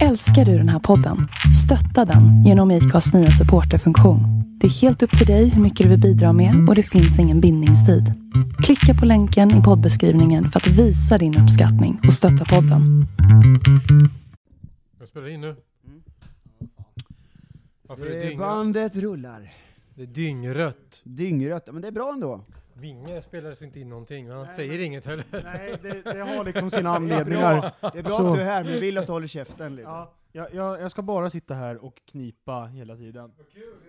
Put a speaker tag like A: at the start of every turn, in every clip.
A: Älskar du den här podden? Stötta den genom IKAs nya supporterfunktion. Det är helt upp till dig hur mycket du vill bidra med och det finns ingen bindningstid. Klicka på länken i poddbeskrivningen för att visa din uppskattning och stötta podden.
B: Jag spelar in nu. Varför är det
C: Eh,
B: dyngrött?
C: Bandet rullar.
B: Det är dyngrött.
C: Dyngrött, men det är bra ändå.
B: Vinge spelades inte in någonting, men han säger inget heller.
D: Nej, det, det har liksom
C: Som
D: sina
C: sina
D: anledningar.
C: anledningar. Det är bra
D: Så.
C: att du är här, men vi vill att du håller käften lite.
D: Ja, jag, jag, jag ska bara sitta här och knipa hela tiden.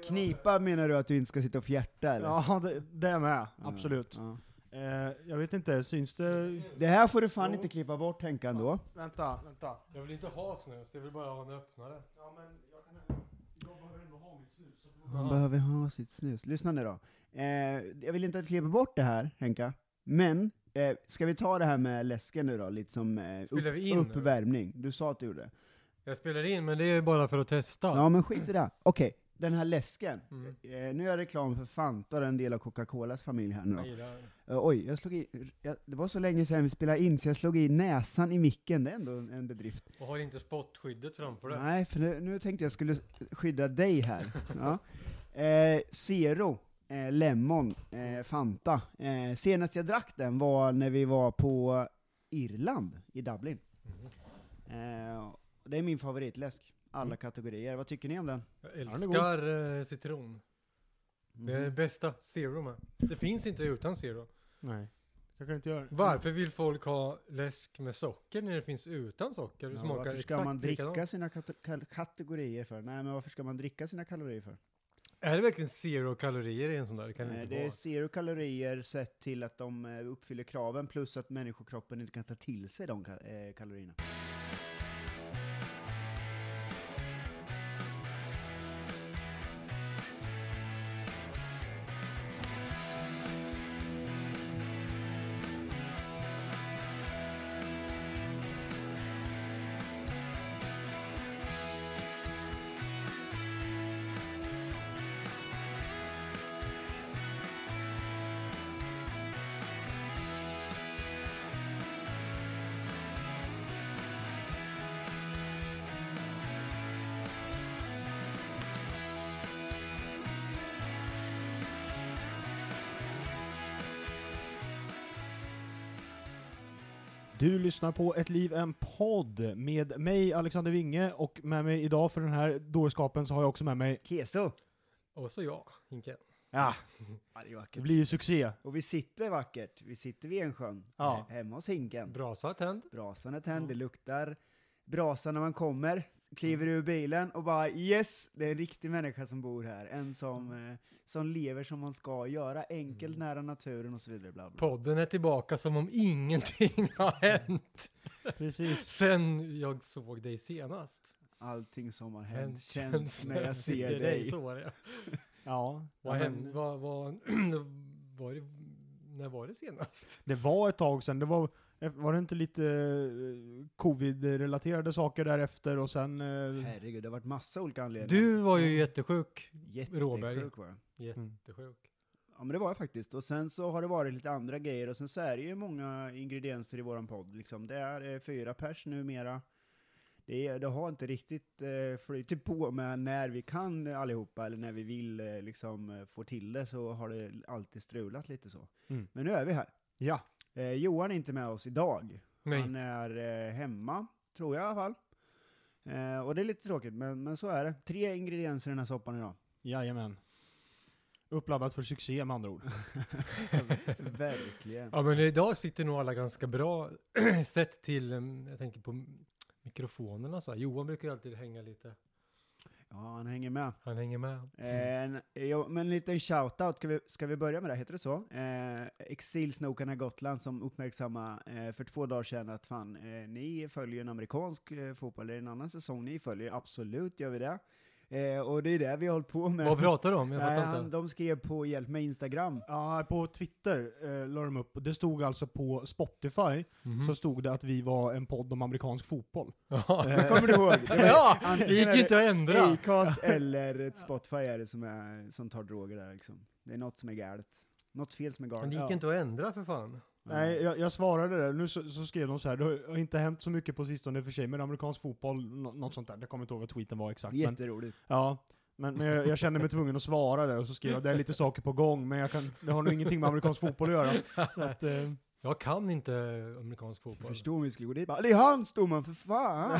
C: Knipa menar du att du inte ska sitta och fjärta eller?
D: Ja, det, det är med. Absolut.
C: Ja.
D: Eh, jag vet inte, syns det...
C: Det här får du fan inte klippa bort Henka ändå.
D: Vänta, vänta.
B: Jag vill inte ha snus, jag vill bara ha en öppnare.
C: Man behöver ha sitt snus. Lyssna nu då. Eh, jag vill inte att du klipper bort det här Henka, men eh, ska vi ta det här med läsken nu då? Lite som eh,
B: Spelar
C: upp,
B: vi in nu?
C: uppvärmning. Du sa att du gjorde.
B: Jag spelar in, men det är bara för att testa.
C: Ja men skit i det. Okej, den här läsken.
B: Mm.
C: Eh, nu är jag reklam för Fanta och en del av Coca-Colas familj här nu då.
B: Jag gillar det.
C: Eh, oj, jag slog i, jag, det var så länge sedan vi spelade in så jag slog i näsan i micken, det är ändå en, en bedrift.
B: Och har inte spottskyddet framför dig.
C: Nej, för nu, nu tänkte jag skulle skydda dig här. ja. eh, Zero, eh, Lemon, eh, Fanta. Eh, senast jag drack den var när vi var på Irland, i Dublin.
B: Mm.
C: Eh, det är min favoritläsk, alla
B: Mm.
C: kategorier. Vad tycker ni om den? Mm.
B: Jag
D: den är
B: älskar eh, citron. Det är det bästa. Zero med. Det finns inte utan zero.
D: Nej. Jag kan inte göra det.
B: Varför vill folk ha läsk med socker när det finns utan socker? Det
C: Ja,
B: smakar
C: varför ska
B: exakt
C: man dricka
B: likadant.
C: sina kate- kal- kategorier för? Nej, men varför ska man dricka sina kalorier för?
B: Är det verkligen zero kalorier i en sån där? Det kan det
C: Nej,
B: inte
C: det är
B: vara.
C: zero kalorier sett till att de eh, uppfyller kraven, plus att människokroppen inte kan ta till sig de ka- eh, kalorierna.
D: Du lyssnar på Ett liv, en podd med mig, Alexander Winge, och med mig idag för den här dårskapen så har jag också med mig...
C: Keso!
B: Och så jag, Hinken.
D: Ja,
C: Ja, det är
D: det
C: vackert.
D: blir ju succé.
C: Och vi sitter vackert, vi sitter vid en sjön,
D: Ja.
C: he- hemma hos Hinken.
B: Brasa tänd.
C: Brasan är tänd, det luktar brasa när man kommer, kliver ur bilen och bara yes, det är en riktig människa som bor här. En som, eh, som lever som man ska göra, enkelt nära naturen och så vidare. Bla bla.
B: Podden är tillbaka som om ingenting har hänt.
D: Precis.
B: Sen jag såg dig senast.
C: Allting som har hänt känns när jag ser dig.
B: Så var det.
D: Ja.
B: Vad
D: Ja, men-
B: hände? Vad, vad, var det, när var det senast?
D: Det var ett tag sedan. Det var, var det inte lite eh, covid-relaterade saker därefter och sen... eh,
C: Herregud, det har varit massa olika anledningar.
B: Du var ju jättesjuk. Råberg.
C: Jättesjuk var jag.
D: mm,
B: Jättesjuk.
C: Ja men det var jag faktiskt. Och sen så har det varit lite andra grejer och sen så är det ju många ingredienser i våran podd liksom. Det är eh, fyra pers numera. Det, är, det har inte riktigt eh, flutit på med när vi kan eh, allihopa eller när vi vill eh, liksom eh, få till det så har det alltid strulat lite så.
D: Mm.
C: Men nu är vi här.
D: Ja.
C: Eh, Johan är inte med oss idag.
B: Nej,
C: Han är eh, hemma, tror jag i alla fall. Eh, och det är lite tråkigt, men, men så är det. Tre ingredienser i den här soppan idag.
D: Jajamän. Uppladdat för succé med andra ord.
C: Verkligen.
B: ja men idag sitter nog alla ganska bra sett till, em, jag tänker på mikrofonerna så här. Johan brukar ju alltid hänga lite.
C: Ja, han hänger med.
B: Han hänger med.
C: Eh, en- jo, men en liten shoutout, ska vi, ska vi börja med det? Heter det så? Eh, Exilsnokarna Gotland som uppmärksamma eh, för två dagar sedan att fan, eh, ni följer en amerikansk eh, fotboll, det är en annan säsong ni följer, absolut gör vi det. Eh, och det är det vi har hållit på med.
B: Vad pratar du om? Jag
C: Nej,
B: fattar
C: han,
B: inte.
C: de skrev på Hjälp mig Instagram.
D: Ja, på Twitter eh, la de upp, och det stod alltså på Spotify,
B: Mhm.
D: så stod det att vi var en podd om amerikansk fotboll.
B: Ja.
C: Det Eh, kommer du ihåg? Det var-
B: Ja, det
C: antingen
B: gick
C: är
B: ju inte att ändra.
C: Acast eller ett Spotify är det som, är, som tar droger där liksom. Det är något som är galet. Något fel som är
B: Men
C: galet.
B: det gick
D: Ja.
B: inte att ändra för fan.
D: Nej, jag, jag svarade det. Nu så, så skrev de så här. Det har inte hänt så mycket på sistone i och för sig, men amerikansk fotboll, nå- något sånt där. Jag kommer inte ihåg vad tweeten var exakt. Men,
C: Jätteroligt.
D: ja, men, men jag, jag kände mig tvungen att svara där och så skrev jag det är lite saker på gång, men jag kan, det har nog ingenting med amerikansk fotboll att göra. Så att, eh,
B: Jag kan inte amerikansk
C: Jag
B: fotboll.
C: förstår om vi skulle gå dit bara, det är han storman för fan!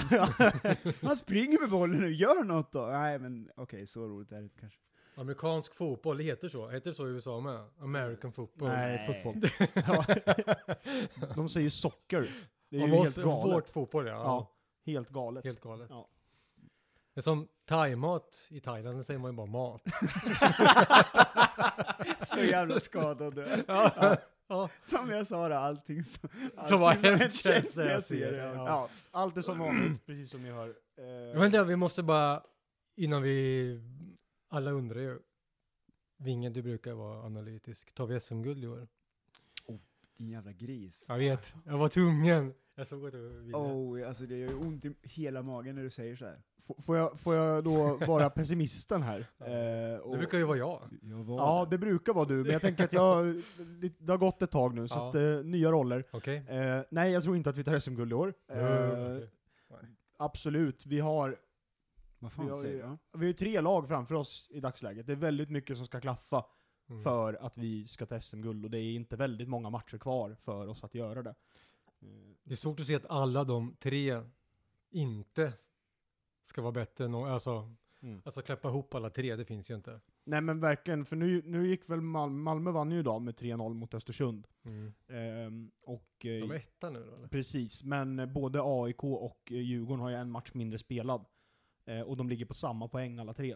C: han springer med bollen nu, gör något då! Nej men okej, så roligt är det inte kanske.
B: Amerikansk fotboll, det heter så. Heter det så i USA med? American football.
D: nej,
C: Nej.
D: fotboll. Ja. De säger socker. Det är ju
B: Av oss,
D: helt
B: vårt
D: galet.
B: fotboll, ja.
D: Ja, helt galet.
B: Helt galet.
D: Ja.
B: Det är som thaimat i Thailand, så säger man ju bara mat.
C: Så jävla skadad du är.
B: ja. Ja.
C: Som jag sa då, allting som, allting
B: har hänt känns när jag ser det,
C: Ja.
B: ja.
D: Ja, allt är som vanligt, precis som ni hör. Eh,
B: Men det, vi måste bara, innan vi, alla undrar ju. Vinge, du brukar vara analytisk. Tar vi SM-guld i år?
C: Din jävla gris.
B: Jag vet, jag var tvungen. Jag såg att du ville.
C: Oh, alltså det gör ju ont i hela magen när du säger så här.
D: F- Får jag, får jag då vara pessimisten här? Eh, och-
B: Det brukar ju vara jag.
C: Jag var
D: ja, det brukar vara du, men jag tänker att jag, det, det har gått ett tag nu, så
B: Ja.
D: att, eh, nya roller.
B: Okej?
D: Eh, nej, jag tror inte att vi tar SM-guld i år. Eh,
B: Mm, okej.
D: Absolut, vi har,
C: Vad
D: jag-
C: fan säger jag?
D: vi har ju tre lag framför oss i dagsläget. Det är väldigt mycket som ska klaffa
B: Mm.
D: för att vi ska ta SM-guld, och det är inte väldigt många matcher kvar för oss att göra det. Eh,
B: Det är svårt att se att alla de tre inte ska vara bättre än alltså,
D: Mm.
B: alltså klappa ihop alla tre, det finns ju inte.
D: Nej men verkligen, för nu, nu gick väl Malmö, Malmö vann ju idag med 3-0 mot Östersund. Ehm, och, eh,
B: De är etta nu då eller?
D: Precis, men eh, både AIK och eh, Djurgården har ju en match mindre spelad. Eh, och de ligger på samma poäng alla tre.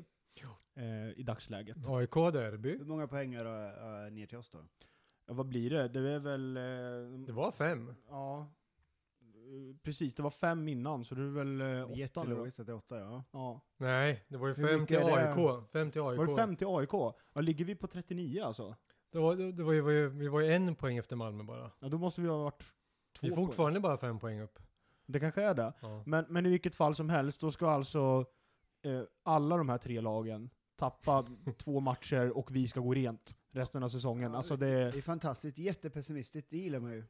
D: Eh, I dagsläget.
B: AIK derby.
C: Hur många poäng är det eh, ner till oss då?
D: Ja, vad blir det? Det är väl... eh,
B: Det var fem.
D: Ja. Eh, Precis, det var fem innan, så det är väl eh, åtta nu då.
C: Jättelogiskt att det är åtta ja.
D: Ja.
B: Nej, det var ju
C: Hur
B: fem
C: mycket
B: till
C: är det?
B: AIK. Fem till AIK.
D: Var det fem till AIK? Ja, ligger vi på 39 alltså?
B: Det var, det var, ju, var ju, vi var ju en poäng efter Malmö bara.
D: Ja, då måste vi ha varit två
B: Vi är
D: poäng.
B: fortfarande bara fem poäng upp.
D: Det kanske är det.
B: Ja.
D: Men, men i vilket fall som helst, då ska alltså eh, alla de här tre lagen tappa två matcher och vi ska gå rent resten av säsongen.
C: Ja,
D: Alltså det är...
C: Det är fantastiskt, jättepessimistiskt, det gillar man ju.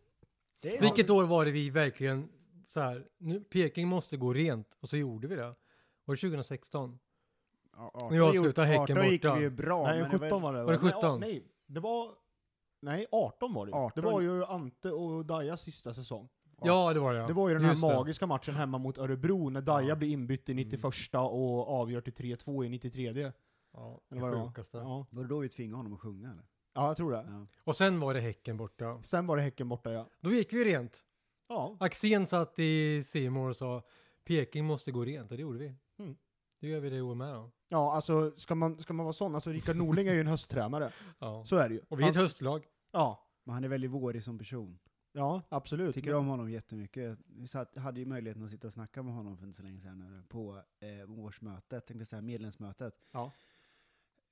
C: Det är
B: Vilket år var det vi verkligen så här, nu Peking måste gå rent och så gjorde vi det. Var det 2016?
C: Ja, 18
B: Nu avslutar
C: gjorde-
B: Häcken
C: 18 gick
B: borta.
C: vi ju bra.
D: nej,
C: men det
D: 17
C: var-
D: var det
B: Var det
D: va?
B: 17?
D: Nej, ja, nej, det var... Nej, 18 var det ju. Det
C: 18.
D: var ju Ante och Dajas sista säsong.
B: Ja, det var det ja.
D: Det var ju den här
B: Just det.
D: magiska matchen hemma mot Örebro när Daja
B: Ja. Mm.
D: blir inbytt i 91 och avgör till 3-2 i 93
B: Ja, det
D: Eller vad det var.
B: sjukaste.
D: Ja.
C: Var det då vi tvingade honom att sjunga eller?
D: ja, jag tror det.
C: Ja.
B: Och sen var det Häcken borta.
D: Sen var det Häcken borta ja.
B: Då gick vi rent.
D: Ja,
B: Axén satt i C More och sa Peking måste gå rent och det gjorde vi.
D: Mm.
B: Det gör vi det i år med då.
D: ja alltså ska man, ska man vara sån, alltså Rickard Norling är ju en hösttränare.
B: Ja.
D: Så är det ju.
B: Och vi är ett
D: Han-
B: höstlag.
D: Ja,
C: Men han är väldigt vårig som person.
D: Ja, absolut.
C: Tycker om honom jättemycket. Vi satt, hade ju möjligheten att sitta och snacka med honom för inte så länge sedan eller, på eh, årsmötet, tänkte säga medlemsmötet.
D: Ja.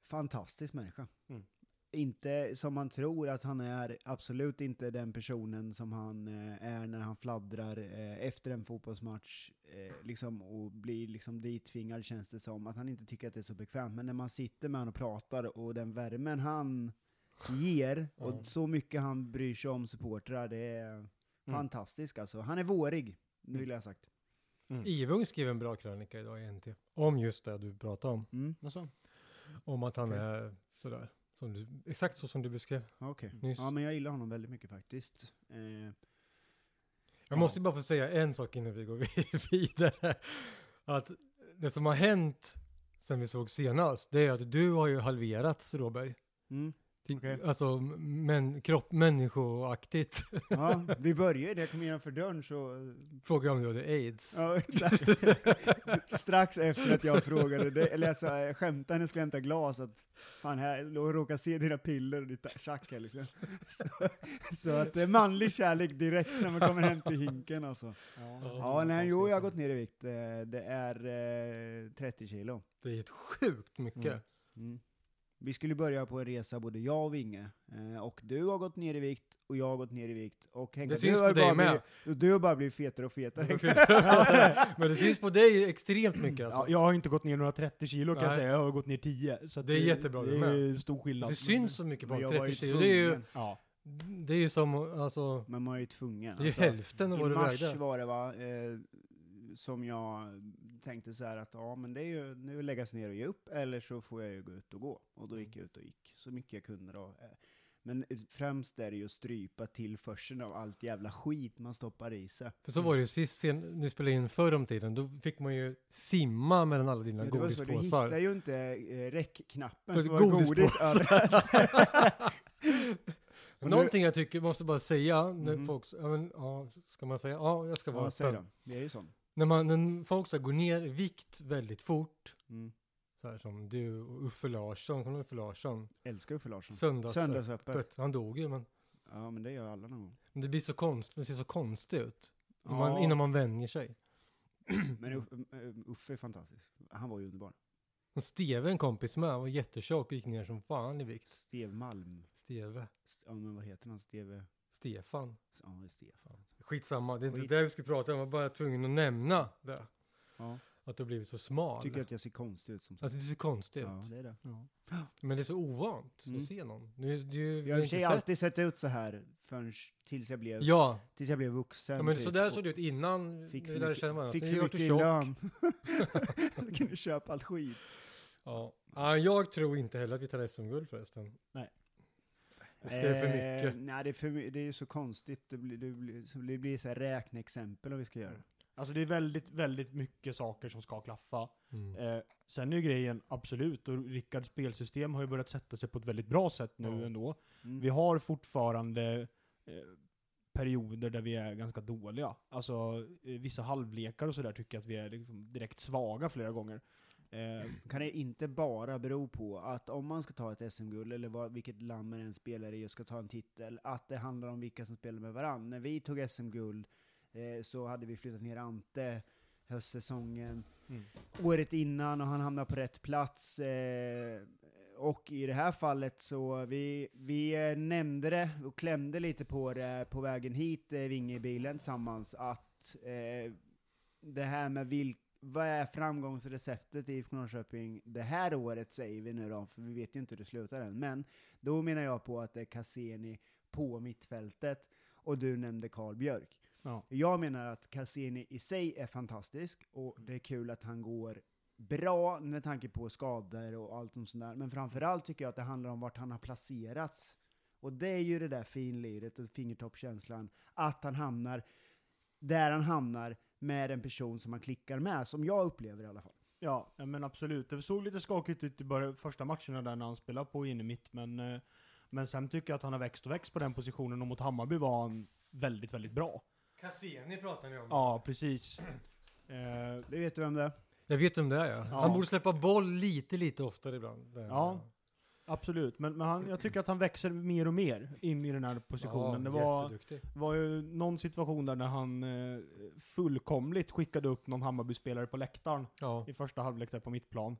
C: Fantastisk människa.
D: Mm.
C: Inte som man tror att han är, absolut inte den personen som han eh, är när han fladdrar eh, efter en fotbollsmatch eh, liksom, och blir liksom ditvingad känns det som. Att han inte tycker att det är så bekvämt. Men när man sitter med honom och pratar och den värmen han ger och
B: Ja.
C: så mycket han bryr sig om supportrar, det är fantastiskt alltså. Han är vårig, nu vill jag ha sagt.
B: Ivung skrev en bra krönika idag i NT. Om just det du pratade om.
C: Mm,
D: Alltså,
B: Om att han
D: Okej.
B: är sådär. Som du, exakt så som du beskrev
C: okej.
B: nyss.
C: Ja men jag gillar honom väldigt mycket faktiskt. Eh,
B: Jag måste bara få säga en sak innan vi går vid- vidare. Att det som har hänt sen vi såg senast, det är att du har ju halverats Robert.
C: mm.
B: Till-
C: Okej.
B: Alltså men, kropp, människoaktigt.
C: Ja, vi börjar ju det, jag kom innanför dörren så...
B: Frågar om du hade aids.
C: Ja, exakt. Strax efter att jag frågade dig, eller jag sa, jag skämtade när jag skulle hämta glas att fan här, jag råkar se dina piller och ditt tjack här liksom. Så, så att det är manlig kärlek direkt när man kommer hem till hinken alltså.
B: Ja.
C: Ja, nej, jo, jag har gått ner i vikt. Eh, Det är eh, 30 kilo.
B: Det är helt sjukt mycket.
D: Mm.
C: Mm. Vi skulle börja på en resa, både jag och Vinge. Eh, och du har gått ner i vikt, och jag har gått ner i vikt. Och
B: Det
C: Henke, du
B: syns
C: har
B: på
C: bara
B: dig med.
C: Blivit, du har bara blivit fetare och fetare.
B: Men det syns på dig extremt mycket
D: ja,
B: alltså.
D: jag har inte gått ner några 30 kilo kan jag
B: Nej.
D: säga, jag har gått ner 10. Så att
B: Det är jättebra,
D: Det
B: det
D: är stor skillnad.
B: Det syns så mycket på
C: Men
B: oss,
C: jag var
B: 30 kilo. Det är ju,
C: tvungen.
D: Ja.
B: Det är ju som, alltså,
C: Men man är ju tvungen.
B: det är ju
C: alltså.
B: hälften av
C: I
B: vad du
C: mars
B: vägde.
C: var det va, eh, som jag tänkte så här att ja men det är ju nu läggas ner och ge upp eller så får jag ju gå ut och gå. Och då
B: Mm.
C: gick jag ut och gick så mycket jag kunde då. Eh, Men eh, främst är det ju att strypa tillförseln av allt jävla skit man stoppar i sig.
B: För så var det ju sist, sen, nu spelade in förr om tiden, då fick man ju simma mellan alla dina
C: Ja, det var så, du hittar
B: godispåsar.
C: ju inte eh, räckknappen,
B: För
C: så var det godis överallt. Och nu-
B: Någonting jag tycker, måste bara säga, när
C: Mhm.
B: folk, ja, men, ja, ska man säga, ja jag ska vara
C: Ja, säg
B: öppen.
C: då. Det är ju sånt.
B: När, man, när folk så här, går ner i vikt väldigt fort,
C: Mm.
B: så här som du och Uffe Larsson, kommer du ihåg Uffe Larsson?
C: Älskar Uffe Larsson.
B: Söndagsöppet.
C: Mm. Söndagsöppet.
B: Han dog ju, men
C: Ja, men det gör alla någon gång.
B: men det blir så konstigt, det ser så konstigt ut. När
D: Ja.
B: Man, innan man vänjer sig.
C: Men Uffe, eh, Uffe är fantastisk. Han var ju underbar.
B: Och Steve, en kompis med, var jättetjock och gick ner som fan i vikt.
C: Steve Malm.
B: Steve.
C: St- Ja, men vad heter han? Steve...
B: Stefan.
C: Ja, det är Stefan.
B: Skitsamma, det är inte
C: Skit.
B: det vi skulle prata om. Jag var bara tvungen att nämna det.
C: Ja.
B: Att du har blivit så smal.
C: Tycker att jag ser konstig ut som sagt.
B: Alltså det ser konstigt ut.
C: Ja, det är det.
B: Men det är så ovant
C: Mm.
B: att se någon. Du, du, vi
C: Jag
B: har
C: har i och
B: inte
C: för sig
B: sett-
C: alltid sett ut så här förrän, tills jag blev,
B: Ja,
C: tills jag blev vuxen.
B: ja men
C: typ,
B: sådär
C: och
B: såg det ut innan
C: Fick
B: vi
C: för
B: lärde känna
C: mycket,
B: varandra.
C: fick
B: Sen
C: för
B: vart du
C: mycket i
B: tjock.
C: lön. Då kan du köpa allt skit.
B: Ja. Ja, jag tror inte heller att vi tar SM-guld förresten.
D: Nej. Eh,
B: Det är för mycket.
C: Eh, nej, det är, för, my- det är ju så konstigt. Det blir, det blir, så det blir så här räkneexempel om vi ska göra
B: Mm.
C: det.
D: Alltså det är väldigt, väldigt mycket saker som ska klaffa.
B: Mm.
D: Eh, sen är ju grejen, absolut, och Rickards spelsystem har ju börjat sätta sig på ett väldigt bra sätt nu
B: Ja.
D: ändå.
C: Mm.
D: Vi har fortfarande eh, perioder där vi är ganska dåliga. Alltså eh, vissa halvlekar och sådär tycker jag att vi är liksom direkt svaga flera gånger. Eh,
C: kan det inte bara bero på att om man ska ta ett SM-guld, eller vad, vilket land man än spelar i och ska ta en titel, att det handlar om vilka som spelar med varandra. När vi tog SM-guld eh, så hade vi flyttat ner Ante höstsäsongen,
D: Mm.
C: året innan och han hamnade på rätt plats. Eh, och i det här fallet så vi, vi eh, nämnde det och klämde lite på det på vägen hit, eh, Vinge i bilen tillsammans, att eh, det här med vilk, vad är framgångsreceptet i IFK Norrköping det här året säger vi nu då, för vi vet ju inte hur det slutar än. Men då menar jag på att det är Cassini på mittfältet och du nämnde Karl Björk.
D: Ja.
C: Jag menar att Cassini i sig är fantastisk och det är kul att han går bra med tanke på skador och allt sånt där. Men framförallt tycker jag att det handlar om vart han har placerats. Och det är ju det där finliret och fingertoppkänslan, att han hamnar där han hamnar med en person som han klickar med, som jag upplever i alla fall.
D: Ja, ja, men absolut. Det såg lite skakigt ut i början, första matcherna där när han spelade på in i mitt, men, eh, men sen tycker jag att han har växt och växt på den positionen och mot Hammarby var han väldigt, väldigt bra.
B: Cassini pratar ni om.
D: Ja, precis. Eh,
C: Det vet du vem det är?
B: Jag vet om det är ja.
D: Ja.
B: Han borde släppa boll lite, lite oftare ibland. Det-
D: Ja. absolut, men, men han, jag tycker att han växer mer och mer in i den här positionen. det
B: Ja,
D: var,
B: jätteduktig.
D: var ju någon situation där när han eh, fullkomligt skickade upp någon Hammarby-spelare på läktaren
B: Ja.
D: i första halvlek där på mitt plan.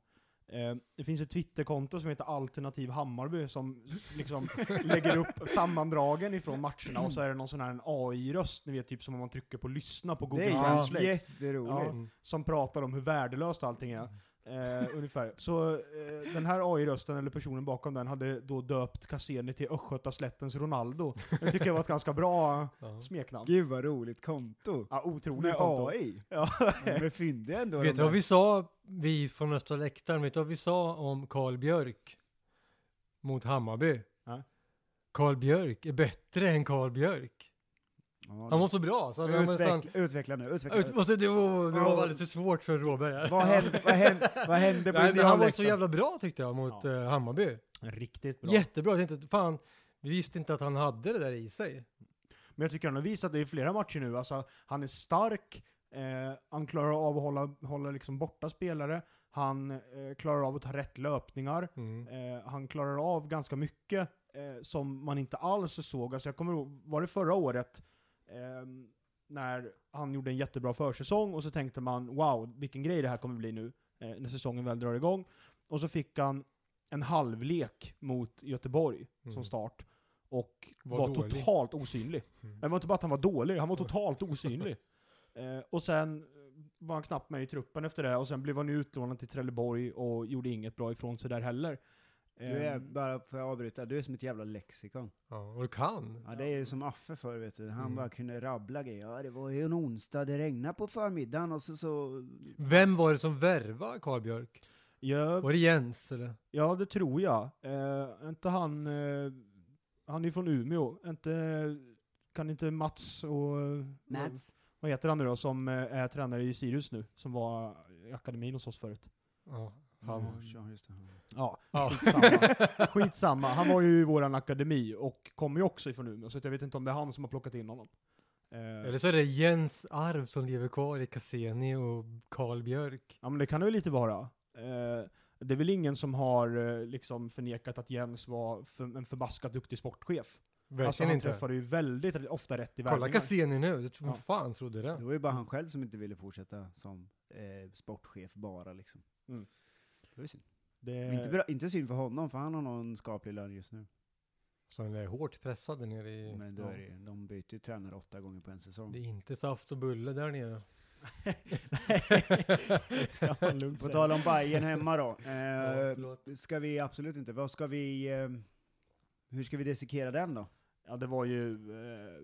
D: Eh, det finns ett Twitterkonto som heter Alternativ Hammarby som liksom lägger upp sammandragen ifrån matcherna och så är det någon sån här en AI-röst, ni vet typ som om man trycker på lyssna på Google
C: det är
D: Translate.
C: ju jätteroligt.
B: Mm.
D: Som pratar om hur värdelöst allting är.
C: Mm.
D: Eh, ungefär. Så eh, den här AI-rösten, eller personen bakom den, hade då döpt Cassini till Östgötaslättens Ronaldo. Det tycker jag var ett ganska bra
B: Ja.
D: smeknamn.
C: Gud vad roligt konto!
D: Ja, otroligt
C: Med
D: konto.
C: AI!
D: Ja.
C: Ja, Men fyndiga ändå.
B: Vet
C: de
B: du vad
C: där.
B: vi sa, vi från östra läktaren, vet du vad vi sa om Karl Björk mot Hammarby?
D: Nej.
B: Karl Björk är bättre än Karl Björk.
C: Ja,
B: Han var så bra så att han nästan...
C: Utveckla, utveckla nu, utveckla.
B: Ut,
C: nu.
B: måste, det, var, det var
C: Ja.
B: alldeles för svårt för Råberg. här.
C: Vad hände, vad hände, vad hände på
B: Nej, men han var så
C: idealläktaren?
B: jävla bra tyckte jag mot
D: Ja.
B: eh, Hammarby.
D: Riktigt bra.
B: Jättebra. Jag tänkte, fan, vi visste inte att han hade det där i sig.
D: Men jag tycker han har visat det i flera matcher nu. Alltså, han är stark, eh, han klarar av att hålla, hålla liksom borta spelare, han eh, klarar av att ta rätt löpningar,
B: Mm.
D: eh, han klarar av ganska mycket eh, som man inte alls såg. Alltså, jag kommer ihåg, var det förra året ehm, när han gjorde en jättebra försäsong och så tänkte man wow, vilken grej det här kommer bli nu eh, när säsongen väl drar igång. Och så fick han en halvlek mot Göteborg
B: Mm.
D: som start och
B: Var
D: var,
B: dålig.
D: totalt osynlig.
B: Mm.
D: Det var inte bara att han var dålig, han var totalt osynlig. Eh, och sen eh, var han knappt med i truppen efter det, och sen blev han ju utlånad till Trelleborg och gjorde inget bra ifrån sig där heller.
C: Du är,
D: Ehm,
C: bara för att avbryta, du är som ett jävla lexikon.
B: Ja, och du kan.
C: Ja, det är ju som Affe förr vet du, han
B: Mm.
C: bara kunde rabbla grejer. Ja, det var ju en onsdag, det regnade på förmiddagen och så så...
B: Vem var det som värvade Karl Björk?
D: jag,
B: Var det Jens eller?
D: ja, det tror jag. Eh, inte han... Eh, han är ju från Umeå. Inte, kan inte Mats och... eh,
C: Mats?
D: Vad heter han nu då, som eh, är tränare i Sirius nu? Som var i akademin hos oss förut.
B: Ja.
C: Ja,
D: Mm.
C: ja, just det.
D: Ja,
B: Ja.
D: skitsamma. skitsamma. Han var ju i våran akademi och kommer ju också ifrån Umeå, så att jag vet inte om det är han som har plockat in honom. Eh,
B: Eller så är det Jens arv som lever kvar i Cassini och Karl Björk.
D: Ja men det kan det ju lite vara. Eh, det är väl ingen som har eh, liksom förnekat att Jens var för, en förbaskat duktig sportchef.
B: Verkligen
D: alltså han
B: inte.
D: träffade ju väldigt r- ofta rätt i
B: Kolla
D: värvningar.
B: Cassini nu, du tror,
D: Ja.
B: fan trodde det?
C: Det var ju bara han själv som inte ville fortsätta som eh, sportchef bara liksom.
D: Mm.
C: Det var ju synd.
D: Det,
C: Inte, bra, inte synd för honom, för han har nog en skaplig lön just nu.
B: Så han är hårt pressad där nere i...
C: Men då
D: ja.
C: är det, ju- de byter ju tränare åtta gånger på en
B: Det
C: säsong.
B: är inte saft och bulle där nere.
D: ja, lugnt
C: På
D: säger
C: tal om Bayern hemma då.
B: Ja,
C: Eh,
B: förlåt.
C: ska vi absolut inte. Vad ska vi... Eh, hur ska vi dissekera den då?
D: jag. ja det var ju... Eh,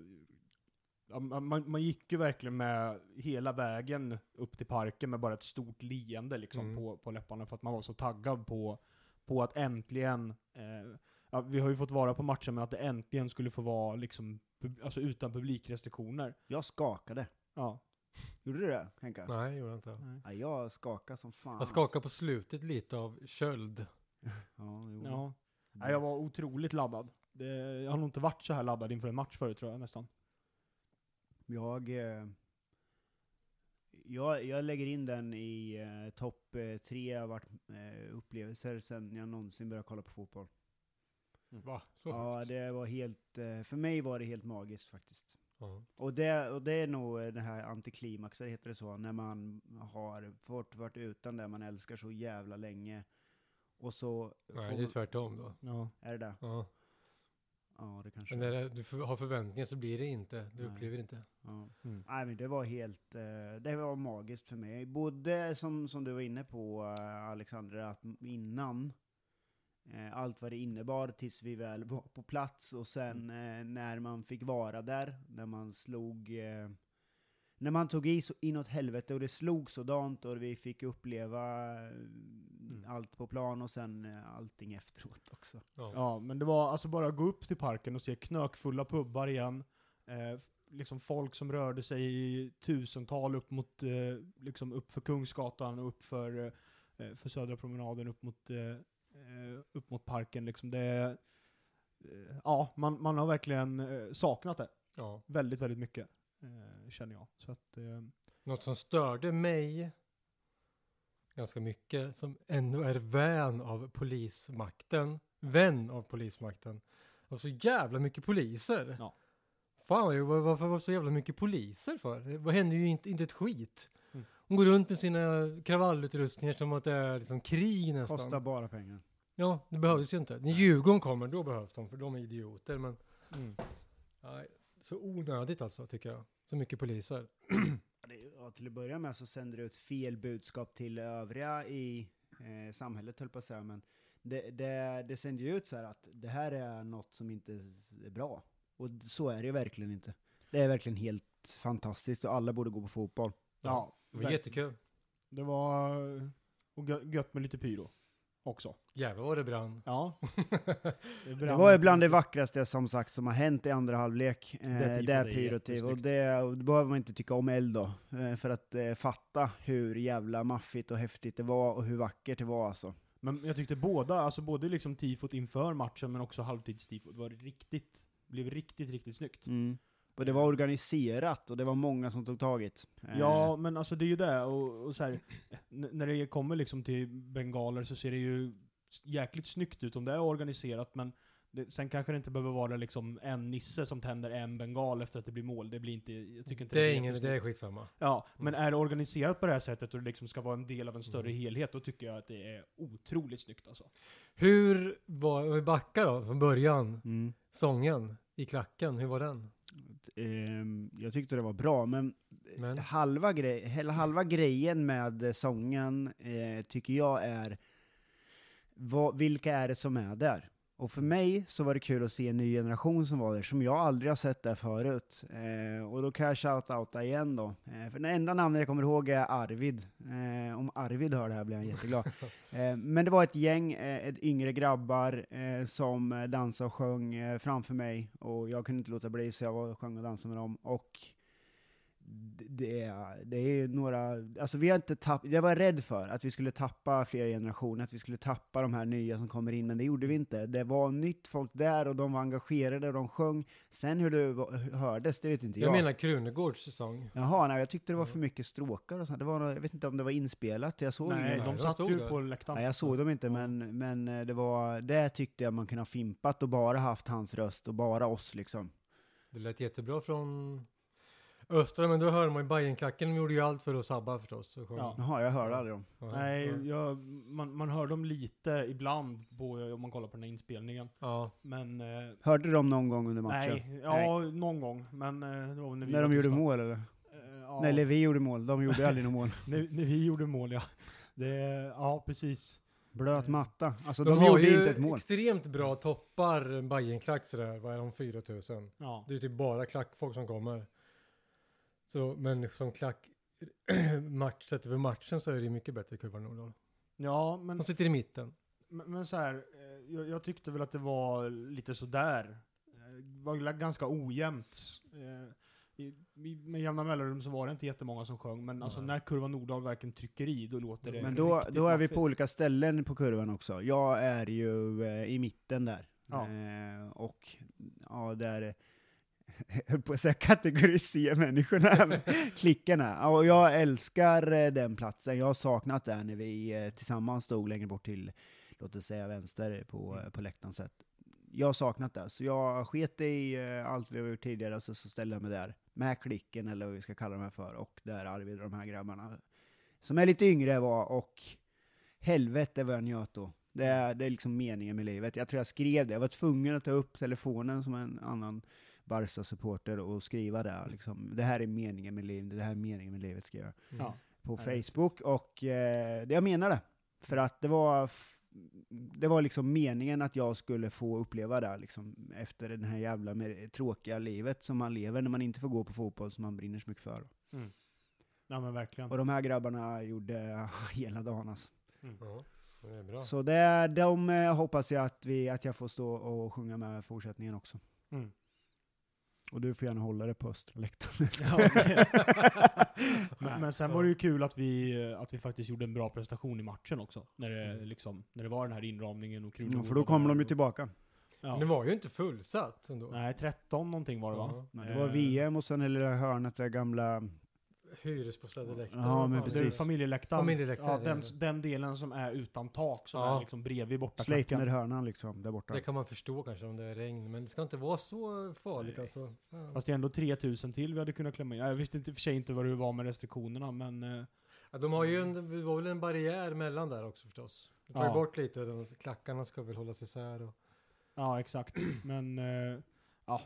D: ja, man, man- man gick ju verkligen med hela vägen upp till parken med bara ett stort leende liksom
B: Mm.
D: på, på läpparna för att man var så taggad på, på att äntligen... Eh, ja, vi har ju fått vara på matchen men att det äntligen skulle få vara liksom, pub- alltså utan publikrestriktioner.
C: Jag skakade.
D: Ja.
C: Gjorde du det Henka?
B: Nej, det gjorde jag inte.
C: Ja, jag skakade som fan. alltså.
B: Jag skakade på slutet lite av köld.
C: Ja, jo.
D: Ja. Nej, jag var otroligt laddad. Det, jag har nog inte varit så här laddad inför en match förut tror jag nästan.
C: Jag, eh, jag, jag lägger in den i eh, topp eh, tre vart, eh, upplevelser sen jag någonsin började kolla på fotboll.
B: Va? Så
C: Ja,
B: högt?
C: det var helt, eh, för mig var det helt magiskt faktiskt.
B: Ja.
C: Och det, och det är nog eh, det här antiklimaxet, heter det så, när man har fått varit utan det man älskar så jävla länge. Och så...
B: Nej,
C: får-
B: det är tvärtom då.
D: Ja.
C: är det där?
B: Ja.
C: Ja, det kanske
B: Men när du för- har förväntningar så blir det inte. Du
C: Nej.
B: upplever inte.
C: ja.
D: Mm.
C: Nej men det var helt, eh, det var magiskt för mig. Både som, som du var inne på eh, Alexander, att m- innan, eh, allt vad det innebar tills vi väl var på plats och sen eh, när man fick vara där, när man slog, eh, när man tog i så inåt helvete och det slog sådant och vi fick uppleva eh, allt på plan och sen eh, allting efteråt också.
B: Ja.
D: ja, men det var alltså bara att gå upp till parken och se knökfulla pubbar igen. Eh, f- liksom folk som rörde sig i tusental upp mot, eh, liksom upp för Kungsgatan och upp för, eh, för Södra promenaden upp mot, eh, eh, upp mot parken liksom. Det, eh, ja, man, man har verkligen eh, saknat det
B: Ja.
D: väldigt, väldigt mycket. Eh, känner jag. Så att, eh,
B: Något som störde mig ganska mycket, som ändå är vän av polismakten, vän av polismakten. Det var så jävla mycket poliser.
D: Ja.
B: Fan, ju, var- varför var det så jävla mycket poliser för? Det var- hände ju inte, inte ett skit.
D: Mm.
B: De går runt med sina kravallutrustningar som att det är liksom krig nästan.
C: Kostar bara pengar.
B: Ja, det behövdes ju inte. När Djurgården kommer, då behövs de, för de är idioter. Men
D: mm.
B: nej, så onödigt alltså, tycker jag. Så mycket poliser.
C: Ja, det- Ja, till att börja med så sänder det ut fel budskap till övriga i eh, samhället, höll på att säga. Men det, det, det sänder ju ut så här att det här är något som inte s- är bra. Och d- så är det ju verkligen inte. Det är verkligen helt fantastiskt och alla borde gå på fotboll.
D: ja,
B: Det var jättekul.
D: Det var och gö- gött med lite pyro också.
B: Jävlar vad det brann.
D: Ja.
C: Det var ju bland det vackraste som sagt som har hänt i andra halvlek. Eh,
D: Det tifot
C: det
D: är
C: är pyrotiv. Och
D: jättesnyggt.
C: det, och det behöver man inte tycka om eld då. Eh, för att eh, fatta hur jävla maffigt och häftigt det var och hur vackert det var alltså.
D: Men jag tyckte båda, alltså både liksom tifot inför matchen men också halvtidstifot var riktigt, blev riktigt, riktigt snyggt.
C: Mm. Och det var organiserat och det var många som tog taget.
B: Mm.
C: Eh,
D: Ja, men alltså det är ju det och, och så här, n- när det kommer liksom till bengaler så ser det ju s- jäkligt snyggt ut om det är organiserat men det, sen kanske det inte behöver vara liksom en nisse som tänder en bengal efter att det blir mål. Det blir inte, jag tycker inte
B: Det är ingen, Mm. det är
D: jättesnyggt.
B: skitsamma.
D: Ja, men är det organiserat på det här sättet och det liksom ska vara en del av en större
B: Mm.
D: helhet, då tycker jag att det är otroligt snyggt alltså.
B: Hur var, om vi backar då, från början.
C: Mm.
B: Sången i klacken, hur var den?
C: Ehm, jag tyckte det var bra, men,
B: Men?
C: Halva, grej, hel- halva grejen med sången eh, tycker jag är vad, vilka är det som är där? Och för mig så var det kul att se en ny generation som var där, som jag aldrig har sett där förut. Eh, och då kan jag shout-outa igen då. Eh, för det enda namnet jag kommer ihåg är Arvid. Eh, om Arvid hör det här blir han jätteglad. Eh, men det var ett gäng, eh, ett yngre grabbar, eh, som eh, dansade och sjöng eh, framför mig. Och jag kunde inte låta bli, så jag var och sjöng och dansade med dem. Och d- det är, det är några, alltså vi har inte tapp, jag var rädd för att vi skulle tappa flera generationer, att vi skulle tappa de här nya som kommer in, men det gjorde vi inte. Det var nytt folk där och de var engagerade och de sjöng. Sen hur det var- hördes, det vet inte jag.
B: Jag menar Krunegårds sång.
C: Jaha, nej, jag tyckte det
B: Ja.
C: var för mycket stråkar och sånt. Det var, nå- jag vet inte om det var inspelat, jag såg
D: Nej,
C: inget.
B: Nej,
D: de
B: jag
D: satt
B: stod
D: ju
B: där.
D: på läktaren.
C: Nej, jag såg dem inte, men, men eh, det var, det tyckte jag man kunde ha fimpat och bara haft hans röst och bara oss liksom.
B: Det lät jättebra från Östra, men då hör man ju Bajenklacken, de gjorde ju allt för att sabba förstås. Och sjöng.
D: Ja.
C: Jaha, jag hörde aldrig dem.
B: Ja, ja.
D: Nej, jag, man, man hör dem lite ibland på, om man kollar på den här inspelningen.
B: Ja,
D: Men... Eh,
C: Hörde du dem någon gång under matchen?
D: nej, ja, någon gång. Men eh, det var när vi
C: När de
D: var
C: gjorde
D: tysta.
C: mål eller?
D: Eh, ja,
C: Nej, eller vi gjorde mål, de gjorde aldrig något mål.
D: när, när vi gjorde mål, ja. Det, ja, precis.
C: Blöt matta. Alltså
B: De,
C: de,
B: har
C: gjorde
B: ju
C: inte ett mål.
B: extremt bra toppar, Bajenklack sådär, vad är de, 4000?
D: Ja.
B: Det är typ bara klackfolk som kommer. Så, men som klack, match, sett över matchen så är det ju mycket bättre kurva Nordahl.
D: Ja, men,
B: De sitter i mitten.
D: men men så här, eh, jag, jag tyckte väl att det var lite sådär. Eh, Det var väl ganska ojämnt. Eh, i- i- Med jämna mellanrum så var det inte jättemånga som sjöng, men alltså
B: Nej.
D: när Kurva Nordahl verkligen trycker i, då låter det
C: Mm. Men då,
D: riktigt
C: då är vi
D: maffigt.
C: på olika ställen på kurvan också. Jag är ju eh, i mitten där.
D: Ja.
C: Eh, och ja, där, jag höll på att säga kategorisera människorna, men klickarna. Ja, Och jag älskar eh, den platsen. Jag har saknat den när vi eh, tillsammans stod längre bort till, låt oss säga vänster på, eh, på läktaren sett. Jag har saknat det, så jag sket i eh, allt vi har gjort tidigare, och så, så ställde jag mig där. Med klicken, eller vad vi ska kalla dem här för, och där Arvid och de här grabbarna som är lite yngre var och helvete vad jag njöt då. Det är, det är liksom meningen med livet. Jag tror jag skrev det. Jag var tvungen att ta upp telefonen som en annan Barca-supporter och skriva det. här, Liksom. Det här är meningen med livet. Det här är meningen med livet, skrev jag
B: Mm.
D: Ja.
C: på
D: Nej.
C: Facebook. Och eh, det jag menar det. För att det var, f- det var liksom meningen att jag skulle få uppleva det här, liksom, efter det här jävla med, tråkiga livet som man lever när man inte får gå på fotboll som man brinner så mycket för.
D: Ja, men verkligen.
C: Och de här grabbarna gjorde hela dagen alltså.
B: Ja, det är bra.
C: Så det, är- de eh, hoppas jag att, vi, att jag får stå och sjunga med fortsättningen också.
D: Mm.
C: Och du får gärna hålla det på östra läktaren.
D: Ja, men, men sen var det ju kul att vi, att vi faktiskt gjorde en bra prestation i matchen också. När det,
B: Mm.
D: liksom, när det var den här inramningen och
C: Ja,
D: krulor.
C: Mm, för då kommer de ju tillbaka.
B: Eh. Men det var ju inte fullsatt ändå.
D: Nej, 13 någonting var det va?
B: Ja.
C: Men det var
D: Eh,
C: VM och sen det lilla hörnet, det gamla...
B: Hyresbostäder läktare.
C: Ja, men
D: Det är
C: precis.
D: familjeläktaren.
B: Familjeläktaren,
D: ja, den,
B: ja.
D: den delen som är utan tak, som
B: Ja.
D: är liksom bredvid bortaklacken.
C: Sleipner-hörnan liksom, där borta.
B: Det kan man förstå kanske om det är regn, men det ska inte vara så farligt alltså. Ja.
D: Fast det är ändå 3000 till vi hade kunnat klämma in. Jag visste inte i och för sig inte vad det var med restriktionerna, men... eh,
B: Ja, de har ju en, det var väl en barriär mellan där också förstås. De tar ju
D: Ja.
B: bort lite, de, klackarna ska väl hållas isär. Och...
D: Ja, exakt. Men... eh, Ja.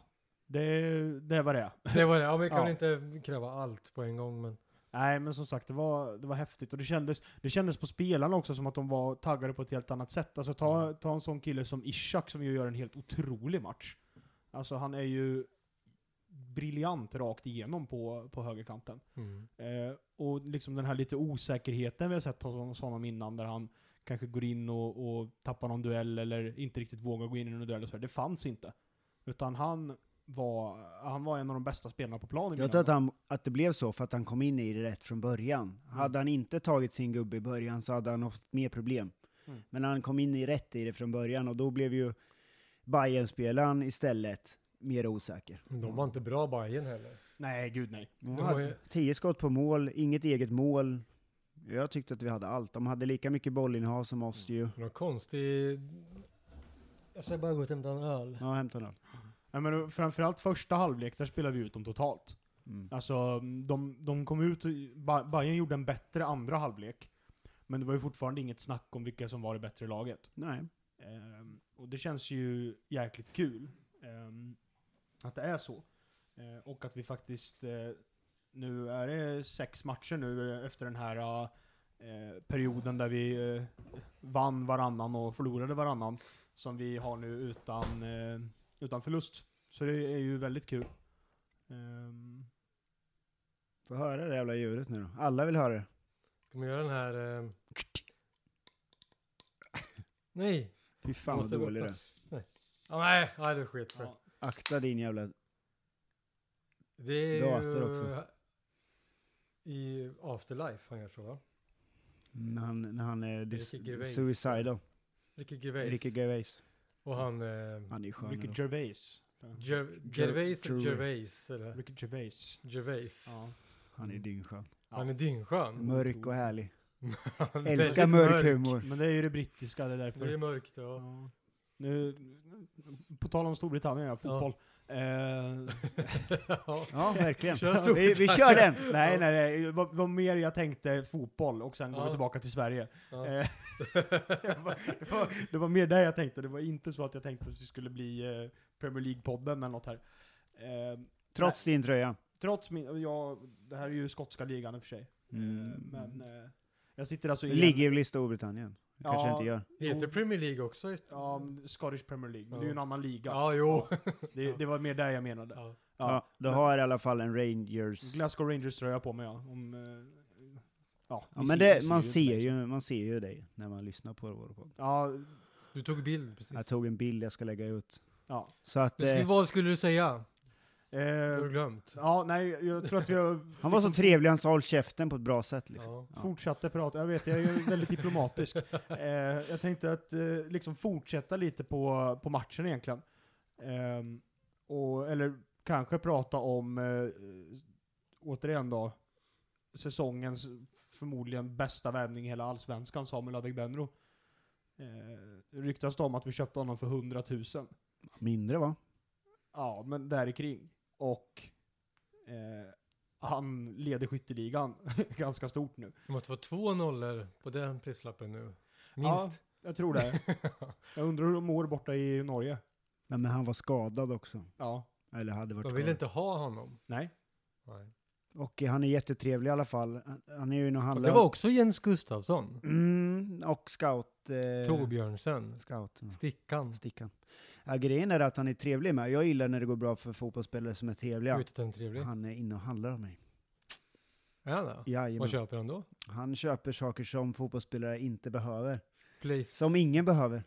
D: Det, det var det.
B: Det var det, ja, vi kan
D: Ja.
B: väl inte kräva allt på en gång men.
D: Nej, men som sagt, det var, det var häftigt. Och det kändes, det kändes på spelarna också som att de var taggade på ett helt annat sätt. Alltså ta,
C: Mm.
D: ta en sån kille som Ishak som ju gör en helt otrolig match. Alltså han är ju briljant rakt igenom på, på högerkanten. Eh, och liksom den här lite osäkerheten vi har sett hos honom innan där han kanske går in och, och tappar någon duell eller inte riktigt vågar gå in i någon duell och så här. Det fanns inte. Utan han var, han var en av de bästa spelarna på
C: Jag
D: planen. innan
C: tror att,
D: då.
C: han, att det blev så för att han kom in i det rätt från början.
B: Mm.
C: Hade han inte tagit sin gubbe i början så hade han haft mer problem.
D: Mm.
C: Men han kom in i rätt i det från början och då blev ju Bayern-spelaren istället mer osäker.
B: De var inte bra Bajen heller.
D: Nej, gud nej.
C: De
B: De har
C: hade
B: ju-
C: 10 skott på mål, inget eget mål. Jag tyckte att vi hade allt. De hade lika mycket bollinnehav som oss ju.
B: Någon konstig... Jag ska bara gå ut och hämta en öl.
C: Ja, hämta den.
D: Ja, men framförallt första halvlek, där spelade vi ut dem totalt.
C: Mm.
D: Alltså, de, de kom ut och Ba- Bayern gjorde en bättre andra halvlek. Men det var ju fortfarande inget snack om vilka som var det bättre laget.
C: Nej.
D: Ehm, och det känns ju jäkligt kul ehm, att det är så. Eh, och att vi faktiskt, eh, nu är det sex matcher nu eh, efter den här eh, eh, perioden där vi eh, vann varannan och förlorade varannan som vi har nu utan, eh, utan förlust. Så det är ju väldigt kul. Ehm,
C: Få höra det jävla ljudet nu då. Alla vill höra det.
B: Ska man göra den här... Eh... Nej!
C: Fy fan vad
B: Måste
C: dålig
B: gå
C: det
B: upp.
C: är.
B: Nej. Ja, nej, ja, det är skit. sig.
D: ja.
C: Akta din jävla...
B: Det är
C: Dator
B: ju
C: också.
B: i Afterlife han gör så va?
C: När han, när han är dis-
B: Ricky Gervais.
C: suicidal.
B: Ricky Gervais.
C: Ricky Gervais.
B: och han... Eh,
C: Han är ju skön.
D: Ricky
C: ändå.
D: Gervais.
B: Ger-
C: Ger-
B: Gervais,
C: Gervais.
B: Gervais, eller?
D: Ricky Gervais.
B: Gervais.
D: Ja.
C: Han är dyngskön.
B: Han är dyngskön.
C: Mörk och härlig.
B: Han är
C: Älskar
B: väldigt
C: mörk humor.
D: Men det är ju det brittiska, det är därför.
B: Det är mörkt, ja.
D: Ja. Nu, på tal om Storbritannien, ja, fotboll. Eh,
B: ja.
C: Ja, verkligen.
B: Kör stort.
C: vi, vi kör den!
D: nej,
C: Nej, nej.
D: nej, nej. Det var, var mer jag tänkte fotboll och sen går vi
B: Ja.
D: tillbaka till Sverige.
B: Ja.
D: Eh, det, var, det, var, det var mer där jag tänkte. Det var inte så att jag tänkte att det skulle bli eh, Premier League-podden eller något här. Eh,
C: Trots din tröja.
D: trots min, jag, det här är ju skotska ligan i och för sig. Eh, men
C: Mm.
D: eh, jag sitter alltså i...
C: Det
D: en-
C: ligger väl i Storbritannien? Det
D: Ja.
C: kanske inte gör.
B: Det heter Premier League också. Ja,
D: Ja, Scottish Premier League. Men det är ju en
B: Ja.
D: annan liga.
B: jo.
D: Det, det var mer där jag menade.
B: Ja.
D: Ja.
C: Ja, då
D: men-
C: har i alla fall en Rangers...
D: Glasgow Rangers tröja på mig ja. Om, eh, ja,
C: Ja, men
D: ni ser-
C: det,
D: ni
C: man,
D: inte
C: ser
D: mig, så.
C: ju, man ser ju dig när man lyssnar på vår podd.
D: Ja,
B: Du tog bild precis.
C: Jag tog en bild jag ska lägga ut.
D: ja.
C: Så att,
B: Du skulle,
C: eh,
B: vad skulle du säga? Du har
D: Eh,
B: glömt.
D: ja, nej, jag tror att vi har
C: han var så trevlig, han sa håll käften på ett bra sätt liksom.
B: Ja.
C: Ja.
D: fortsatte prata. Jag vet, jag är ju väldigt diplomatisk. Eh, jag tänkte att eh, liksom fortsätta lite på, på matchen egentligen. Eh, och, eller kanske prata om, eh, återigen då, säsongens förmodligen bästa värvning i hela allsvenskan, Samuel Adegbenro. Eh, ryktas det om att vi köpte honom för 100 000.
C: Mindre va?
D: Ja, men där i kring. Och eh, han leder skytteligan ganska stort nu.
B: Det måste vara två nollor på den prislappen nu.
D: Ja.
B: Minst.
D: Jag tror det. Jag undrar hur de mår borta i Norge.
C: Nej, men han var skadad också.
D: Ja.
C: Eller hade varit
B: De vill
C: skadad.
B: inte ha honom.
D: Nej.
B: Nej.
C: Och eh, han är jättetrevlig i alla fall. Han- Han är ju inne och
B: Och
C: handlar.
B: det var också Jens Gustafsson.
C: mm, och scout. Eh,
B: Torbjörnsen.
C: Scouten.
B: Stickan.
C: Stickan. Ja, grejen är att han är trevlig med. Jag gillar när det går bra för fotbollsspelare som är trevliga.
B: Utan en trevlig.
C: Han är inne och handlar av mig.
B: Är han det? Vad
C: Jajamän.
B: köper han då?
C: Han köper saker som fotbollsspelare inte behöver.
B: Place.
C: Som ingen behöver.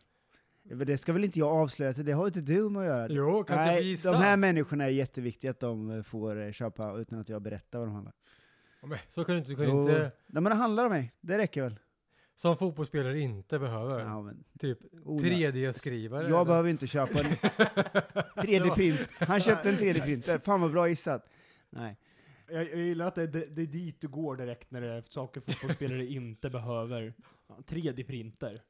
C: Det ska väl inte jag avslöja, till, det har ju inte du med att göra.
B: Jo, kan inte
C: Nej,
B: visa.
C: de här människorna är jätteviktiga att de eh, får eh, köpa utan att jag berättar vad de handlar.
B: Ja, men Så kan du inte, du kan
C: Jo.
B: inte,
C: Nej men det handlar om mig, det räcker väl?
B: som fotbollsspelare inte behöver.
C: Ja, men,
B: Typ
C: Ola,
B: 3D-skrivare.
C: jag behöver ju inte köpa en 3D-print. Han köpte en 3D-printer, fan vad bra gissat. Nej.
D: Jag, jag gillar att det, det, det är dit du går direkt när det är saker fotbollsspelare inte behöver. Ja, 3D-printer.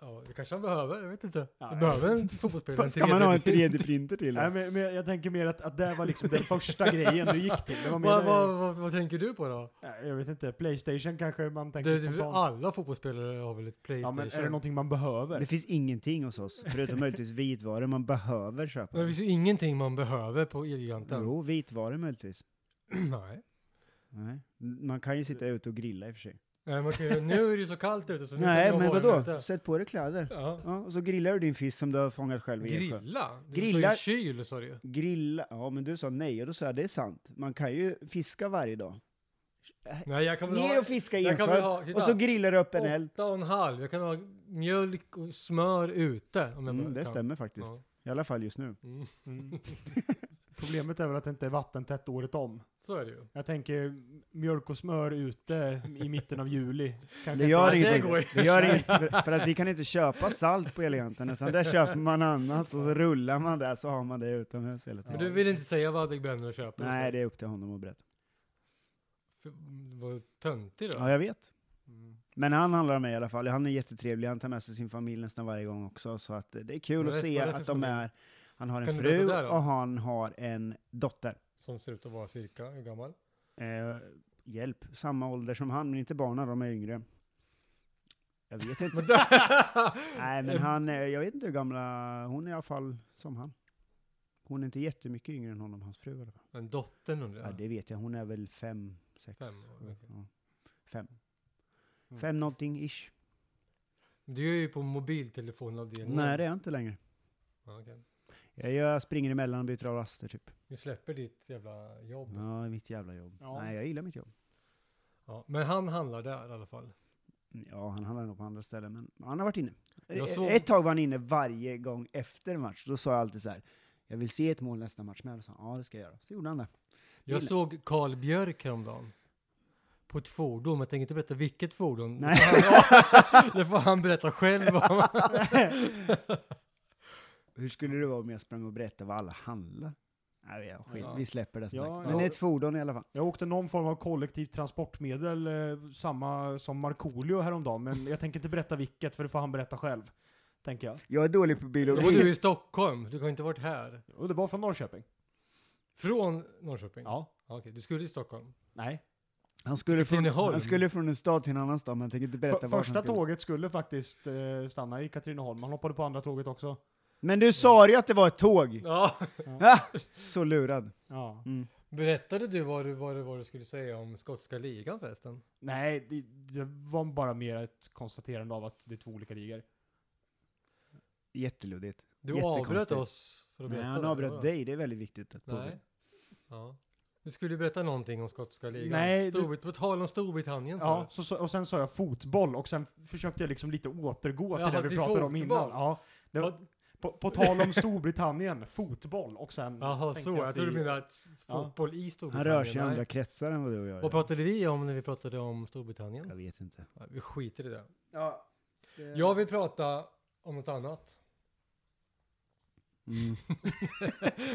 B: Ja, det kanske han behöver, jag vet inte.
D: Ja,
B: det
D: nej.
B: behöver en fotbollsspelare
C: Vad ska man ha en 3D-printer till?
D: Nej,
C: då?
D: men, men jag tänker mer att, att det var liksom den första grejen du gick till. Det var mer,
B: Vad, vad, vad, vad tänker du på då?
D: Nej, jag vet inte, Playstation kanske man tänker
B: Det, det,
D: spontant.
B: alla fotbollsspelare har väl ett
D: ja,
B: Playstation?
D: men är det någonting man
C: Det
D: behöver?
C: finns ingenting hos oss, förutom möjligtvis vitvaror man behöver
B: Men det
C: köpa.
B: finns ju ingenting man behöver på Elgiganten.
C: Jo, vitvaror möjligtvis.
B: Nej.
C: Nej. Man kan ju sitta ute och grilla i och för sig.
B: Nej, man kan, ju- nu är det ju så kallt ute så nu kan
C: Nej,
B: jag
C: men
B: vara
C: vadå?
B: ute.
C: Sätt på dig kläder.
B: Ja.
C: Ja, och så grillar du din fisk som du har fångat själv i Eksjö.
B: Grilla? Du
C: Grilla-
B: sa ju kyl, sa du.
C: Grilla, ja men du sa nej och då sa jag det är sant. Man kan ju fiska varje dag.
B: Nej, jag kan väl
C: Ner
B: ha...
C: och fiska i
B: Jag kan väl
C: Ensjö
B: ha... titta.
C: och så grillar du upp en eld.
B: Åtta och en halv. Jag kan ha mjölk och smör ute. Om jag
C: Mm,
B: bara
C: det
B: kan.
C: stämmer faktiskt.
B: Ja.
C: I alla fall just nu.
B: Mm.
D: Mm. Problemet är väl att det inte är vattentätt året om.
B: Så är det ju.
D: Jag tänker mjölk och smör ute i mitten av juli.
C: Det
D: Kanske inte
C: gör
B: det
C: inget.
B: går ju.
C: Det gör inget för, för att vi kan inte köpa salt på Eleganten utan där köper man annat och så rullar man där så har man det utomhus hela
B: Men
C: tiden.
B: du vill inte säga vad Adegbenro köper?
C: Nej, det är upp till honom att berätta.
B: För- Vad töntig då.
C: Ja, jag vet.
D: Mm.
C: Men han handlar om mig i alla fall. Han är jättetrevlig. Han tar med sig sin familj nästan varje gång också. Så att eh, det är kul
B: Vad
C: att
B: är-
C: se
B: vad är det för
C: att de
B: familj?
C: är... Han har en
B: Kan du
C: fru
B: berätta där då?
C: och han har en dotter.
B: Som ser ut att vara cirka, hur gammal?
C: Eh, hjälp, samma ålder som han, men inte barnen, de är yngre. Jag vet inte. Nej, men han, eh, jag vet inte hur gamla, hon är i alla fall som han. Hon är inte jättemycket yngre än honom, hans fru i alla fall.
B: Men dottern undrar
C: Ja.
B: jag.
C: det vet jag, hon är väl fem, sex.
B: Fem år,
C: sju,
B: okej.
C: ja. Fem.
B: Mm.
C: Fem någonting ish.
B: Du är ju på mobiltelefonavdelningen.
C: Nej, det är jag inte längre.
B: Ja, okej.
C: Jag, jag springer emellan och byter av raster typ.
B: Vi släpper ditt jävla jobb. Ja.
C: Ja, mitt jävla jobb.
D: Ja.
C: Nej, jag gillar mitt jobb.
B: Men han handlar där i alla fall.
C: Ja, han handlar nog på andra ställen, men han har varit inne.
B: Jag
C: E-
B: såg-
C: Ett tag var han inne varje gång efter match. Då sa jag alltid så här, jag vill se ett mål nästa match med. Och så sa han, ja det ska jag göra. Så gjorde han det.
B: Jag
C: Gillar.
B: såg Carl Björk häromdagen. På ett fordon, men jag tänker inte berätta vilket fordon.
C: Nej.
B: det får han berätta själv om.
C: Hur skulle det vara om jag sprang och berättade vad alla handlar? Nej, jag skit,
B: Ja.
C: vi släpper det
D: Ja,
C: ja,
D: ja.
C: Men det är ett fordon i alla fall.
D: Jag åkte någon form av kollektivt transportmedel, eh, samma som Markoolio häromdagen, men jag tänker inte berätta vilket, för det får han berätta själv. Tänker jag.
C: Jag är dålig på bil
B: Då
C: och
B: var du i Stockholm, du kan inte ha varit här.
D: Och det var från Norrköping.
B: Från Norrköping?
D: Ja.
B: Okej, du skulle till Stockholm.
D: Nej.
C: Han skulle, från,
B: Katrineholm.
C: han skulle från en stad till en annan stad, men jag tänker inte berätta
D: För,
C: vart han
D: första
C: skulle.
D: tåget skulle faktiskt eh, stanna i Katrineholm, han hoppade på andra tåget också.
C: Men du sa ju att det var ett tåg!
B: Ja.
C: Ah, så lurad.
D: Ja.
B: Mm. Berättade du vad, du vad du vad du skulle säga om skotska ligan förresten?
D: Nej, det, det var bara mer ett konstaterande av att det är två olika ligor.
C: Jätteluddigt.
B: Du
C: Jättekonstigt.
B: avbröt oss för att
C: Nej,
B: berätta.
C: han
B: det,
C: avbröt
B: eller?
C: dig, det är väldigt viktigt att påpeka.
B: Nej. Ja. Du skulle berätta någonting om skotska ligan.
D: Nej, du-
B: Storbrit- På tal om Storbritannien
D: Ja,
B: sa
D: så, så, och sen sa jag fotboll och sen försökte jag liksom lite återgå till
B: Jaha,
D: det vi
B: till
D: pratade om
B: fotboll.
D: innan. Ja, det
B: du.
D: var, på, på tal om Storbritannien, fotboll och sen...
B: Jaha,
D: tänkte
B: så. Jag
D: att
B: trodde
D: vi-
B: du menade att
D: Ja.
B: fotboll i
C: Han
B: Storbritannien.
C: rör sig i
B: nej.
C: andra kretsar än vad du och jag
B: Vad
C: gör.
B: pratade vi om när vi pratade om Storbritannien?
C: Jag vet inte.
B: Ja, Vi skiter i det.
D: Ja, det-
B: Jag vill prata om något annat.
C: Mm.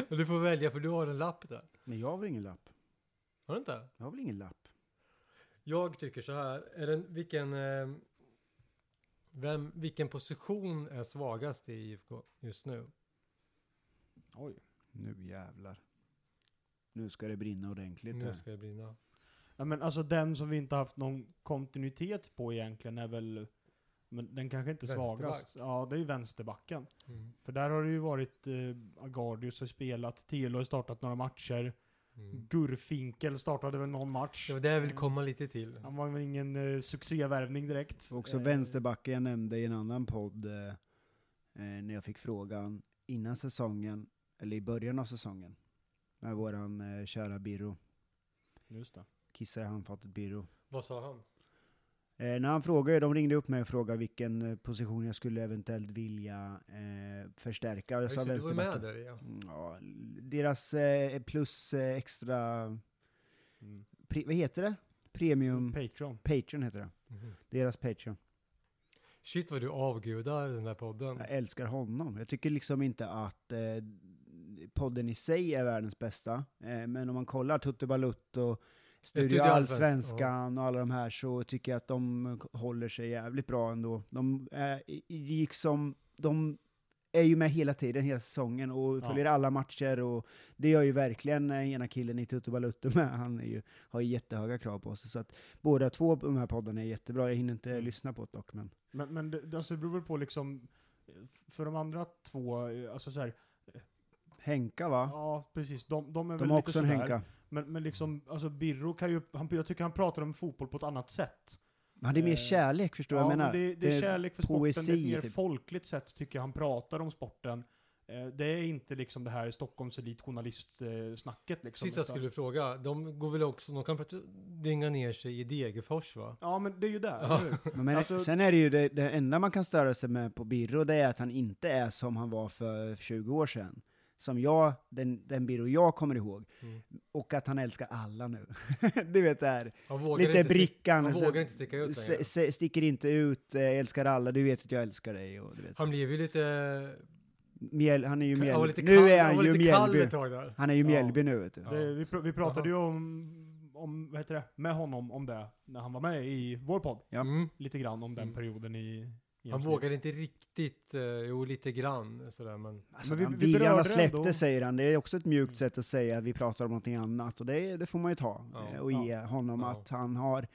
B: Och du får välja för du har en lapp där.
C: Men jag har väl ingen lapp?
B: Har du inte?
C: Jag har väl ingen lapp?
B: Jag tycker så här. Är den, vilken, eh, vem, vilken position är svagast i IFK just nu?
D: Oj.
C: Nu jävlar. Nu ska det brinna ordentligt
B: Nu
C: här.
B: ska det brinna.
D: Ja, men alltså den som vi inte haft någon kontinuitet på egentligen är väl... Men den kanske inte är svagast.
B: Vänsterback.
D: Ja, det är ju vänsterbacken.
B: Mm.
D: För där har det ju varit eh, Agardius har spelat, Telo har startat några matcher,
B: Mm.
D: Gurfinkel startade väl någon match.
B: Det var det jag ville komma lite till.
D: Han var väl ingen eh, succévärvning direkt.
C: Också
D: Eh,
C: vänsterbacken jag nämnde i en annan podd, eh, eh, när jag fick frågan innan säsongen, eller i början av säsongen, med våran eh, kära Birro,
D: Eh, Just det.
C: kissa i handfatet Birro.
B: Vad sa han?
C: Eh, när han frågade, de ringde upp mig och frågade vilken eh, position jag skulle eventuellt vilja eh, förstärka, och jag
B: Ja,
C: sa
B: just det, du var med
C: vänsterbacken.
B: där ja.
C: Mm, Ja, l- deras eh, plus eh, extra,
D: Mm.
C: pri- vad heter det? Premium,
D: Patreon.
C: Patreon heter det.
B: Mhm.
C: Deras Patreon.
B: Shit vad du avgudar den här podden.
C: Jag älskar honom. Jag tycker liksom inte att eh, podden i sig är världens bästa. Eh, men om man kollar Tutte Balutto, Studio
B: Studio
C: Allsvenskan och alla de här så tycker jag att de håller sig jävligt bra ändå. De eh, i- i- gick som, de är ju med hela tiden, hela säsongen och
D: Ja.
C: följer alla matcher och det gör ju verkligen eh, ena killen i Tutte Balutto med. Han är ju, har ju jättehöga krav på sig så att båda två de här poddarna är jättebra. Jag hinner inte
D: Mm.
C: lyssna på det dock men
D: Men, men det, det- alltså, det beror väl på liksom, eh, f- för de andra två, eh, alltså så här,
C: Henka va?
D: ja precis, de, de är
C: De
D: väl
C: har
D: lite
C: också en
D: sådär.
C: Henka.
D: Men, men liksom, alltså Birro kan ju, han, jag tycker han pratar om fotboll på ett annat sätt.
C: Men det är mer
D: Eh,
C: kärlek, förstår du
D: ja,
C: vad jag menar?
D: men det, det är kärlek för sporten, det är
C: poesi,
D: ett mer
C: typ.
D: folkligt sätt tycker jag han pratar om sporten. Eh, det är inte liksom det här Stockholms elitjournalistsnacket liksom.
B: Sist jag
D: utan-
B: skulle fråga, de går väl också, de kan prata- dynga ner sig i Degerfors va?
D: Ja men det är ju där,
B: Ja.
D: eller hur?
C: Men, men
D: alltså-
C: sen är det ju det, det enda man kan störa sig med på Birro, det är att han inte är som han var för 20 år sedan. Som jag, den, den Birro jag kommer ihåg.
B: Mm.
C: Och att han älskar alla nu. du vet det här,
B: Han vågar
C: lite
B: inte sti-
C: brickan. alltså,
B: Han
C: så-
B: vågar inte sticka ut längre.
C: se- se- sticker inte ut, eh, älskar alla, du vet att jag älskar dig. Och, du vet,
B: Han
C: han,
B: blev ju lite...
C: Mjäl, han är ju
B: Han var
C: Mjällby.
B: lite
C: Nu
B: kall,
C: är
B: han
C: han
B: var
C: ju
B: lite kall
C: Mjällby.
B: ett tag där.
C: Han är ju
D: Ja.
C: Mjällby nu, vet du.
B: Ja.
D: Det, vi, pr- vi pratade ju om, om, vad heter det, med honom om det, när han var med i vår podd.
C: Ja.
B: Mm.
D: Lite grann om den
B: Mm.
D: perioden i... i
B: Han
D: hans liv.
B: vågade inte riktigt, eh, jo lite grann sådär men...
C: Alltså,
D: Men vi-
C: han,
D: vi
C: viljan har
D: berörde
C: släppt
D: ändå-
C: det säger han, det är också ett mjukt
B: Mm.
C: sätt att säga att vi pratar om någonting annat. Och det, det får man ju ta
B: Ja.
C: eh, och ge honom
B: Ja.
C: att han har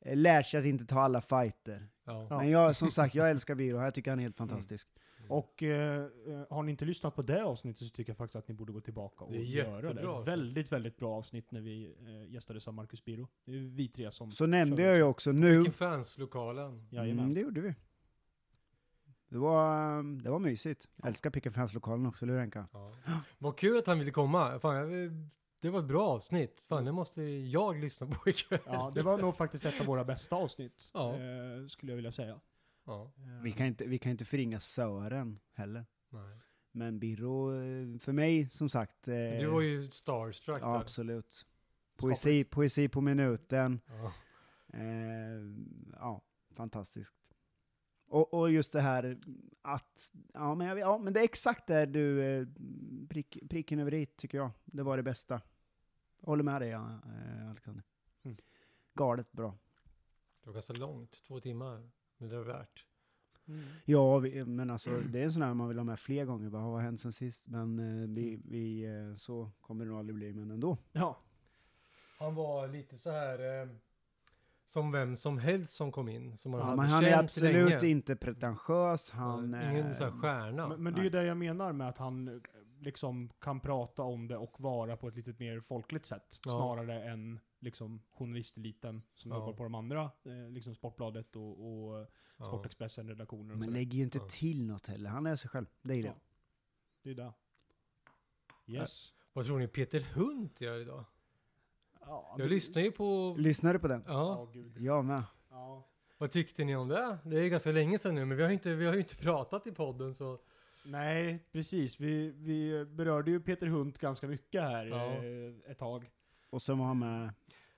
C: eh, lärt sig att inte ta alla fighter.
B: Ja.
D: Ja.
C: Men jag, som sagt, jag älskar Biro, jag tycker han är helt
B: Mm.
C: fantastisk.
D: Och eh, eh, har ni inte lyssnat på det avsnittet så tycker jag faktiskt att ni borde gå tillbaka och
B: Det är
D: göra
B: jättebra
D: det.
B: avsnitt.
D: Väldigt, väldigt bra avsnitt när vi eh, gästades av Marcus Biro. Det är ju vi tre som...
C: Så nämnde
D: körde
C: jag ju också nu.
B: Vilken fans, lokalen.
D: Jajamän.
C: Mm, det gjorde vi. Det var, um, det var mysigt. Jag älskar Pick Fans-lokalen också, eller hur Henka?
B: Ja. Vad kul att han ville komma. Fan, jag, det var ett bra avsnitt. Fan,
C: Mm.
B: det måste jag lyssna på ikväll.
D: Ja, det var nog faktiskt ett av våra bästa avsnitt,
B: Ja.
D: eh, skulle jag vilja säga.
B: Ja,
D: Eh,
C: Vi kan inte, vi kan inte förringa Sören heller.
B: nej.
C: Men Birro, eh, för mig som sagt. eh,
B: Du var ju starstruck
C: Ja,
B: där.
C: absolut. Poesi, poesi på minuten.
B: Ja.
C: Eh, ja, fantastiskt. Och, och just det här att, ja men, jag, ja men det är exakt där du, eh, prick, pricken över i tycker jag. Det var det bästa. Jag håller med dig ja, eh, Alexander.
D: Mm.
C: Galet bra.
B: Det var ganska långt, två timmar. Men det var värt.
D: Mm.
C: Ja, vi, men alltså det är en sån här man vill ha med fler gånger. Bara, vad har hänt sen sist? Men eh,
B: Mm.
C: vi, vi eh, så kommer det nog aldrig bli, men ändå.
D: Ja,
B: Han var lite så här eh, som vem som helst som kom in. Som man
C: Ja,
B: hade
C: men han är
B: känt
C: absolut
B: länge.
C: inte pretentiös. Han,
B: Ingen
C: eh,
B: så här stjärna.
D: men, men det är ju det jag menar med att han eh, liksom kan prata om det och vara på ett lite mer folkligt sätt.
B: Ja.
D: Snarare än liksom journalisteliten som
B: Ja.
D: jobbar på de andra, eh, liksom Sportbladet och, och
B: ja.
D: Sportexpressen, redaktioner och
C: men
D: sådär.
C: lägger ju inte
B: Ja.
C: till något heller. Han är sig själv. Det är det.
D: Ja. Det är det. Yes.
B: Vad tror ni Peter Hunt gör idag?
D: Ja,
B: Jag lyssnar ju på...
C: Lyssnar du på den?
B: Ja,
D: Ja, gud.
C: Jag med.
D: Ja.
B: vad tyckte ni om det? Det är ju ganska länge sedan nu, men vi har ju inte, vi har ju inte pratat i podden så...
D: Nej, precis. Vi, vi berörde ju Peter Hunt ganska mycket här
B: Ja.
D: eh, ett tag.
C: Och sen var han med.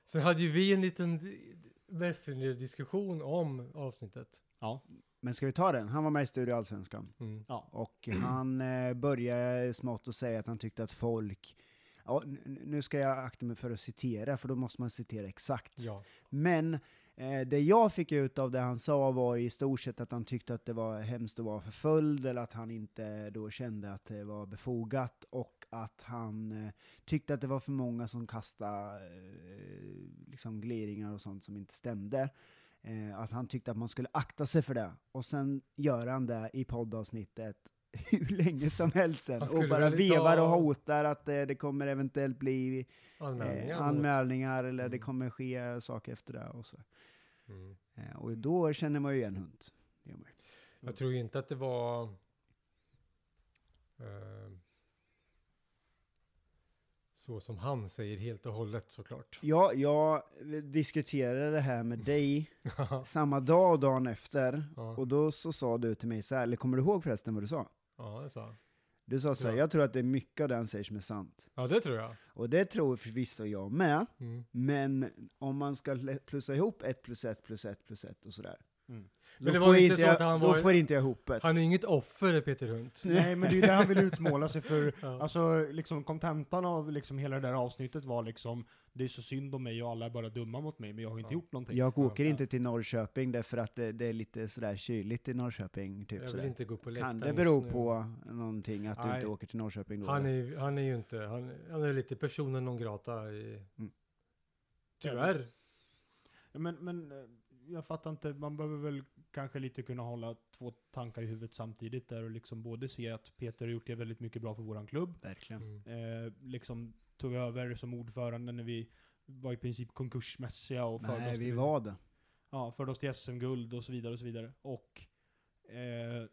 B: Sen hade ju vi en liten Messenger-diskussion om avsnittet.
D: Ja.
C: Men ska vi ta den? Han var med i Studio Allsvenskan.
B: Mm.
C: Och han eh, började smått att säga att han tyckte att folk... Ja, n- n- nu ska jag akta mig för att citera, för då måste man citera exakt.
B: Ja.
C: Men eh, det jag fick ut av det han sa var i stort sett att han tyckte att det var hemskt att vara förföljd, eller att han inte då kände att det var befogat, och att han eh, tyckte att det var för många som kastade eh, liksom gliringar och sånt som inte stämde. Eh, att han tyckte att man skulle akta sig för det. Och sen gör han det i poddavsnittet hur länge som helst sen.
B: Han
C: Och
B: skulle
C: bara
B: väl inte
C: vevar och
B: ha-
C: hotar att eh, det kommer eventuellt bli
B: Anmälningar.
C: eh,
B: mot-
C: anmälningar eller det
B: Mm.
C: kommer ske saker efter det. Och, så.
B: Mm.
C: Eh, och då känner man ju igen hund. Det gör man ju.
B: Jag tror ju inte att det var... Eh, så som han säger helt och hållet såklart.
C: Ja, jag diskuterade det här med dig samma dag och dagen efter.
B: ja,
C: Och då så sa du till mig så här, eller kommer du ihåg förresten vad du sa?
B: ja, det sa han.
C: Du sa så här,
B: Ja.
C: jag tror att det är mycket av det han säger som är sant.
B: Ja, det tror jag.
C: Och det tror förvisso jag med,
B: Mm.
C: men om man ska le- plussa ihop ett plus ett plus ett plus ett och sådär.
D: Mm.
C: Då,
B: Men det var
C: får,
B: inte
C: inte
B: så
C: jag,
B: att han
C: då
B: var-
C: får inte jag ihop ett.
B: Han är ju inget offer, Peter Hunt.
D: Nej, men det är ju det han vill utmåla sig för.
B: Ja.
D: Alltså, liksom kontentan av liksom hela det där avsnittet var liksom, det är så synd om mig och alla är bara dumma mot mig, men jag har inte
B: Ja.
D: gjort någonting.
C: Jag åker
D: typ, Ja.
C: inte till Norrköping därför att det, det är lite sådär kyligt i Norrköping. Typ
B: jag vill
C: sådär.
B: inte gå på
C: Kan
B: läktaren
C: det
B: just
C: bero
B: nu.
C: på någonting att du
B: Nej.
C: inte åker till Norrköping då?
B: Han är, ju- han är ju inte, han, han är lite personen non grata i...
C: Mm.
B: Tyvärr.
D: Ja, Men, men eh, jag fattar inte, man behöver väl kanske lite kunna hålla två tankar i huvudet samtidigt där och liksom både se att Peter har gjort det väldigt mycket bra för våran klubb,
C: Verkligen.
B: Mm.
D: eh, liksom tog över som ordförande när vi var i princip konkursmässiga och förde
C: Nej,
D: oss
C: vi
D: till-
C: var det.
D: Ja, förde oss till SM-guld och så vidare och så vidare. Och eh,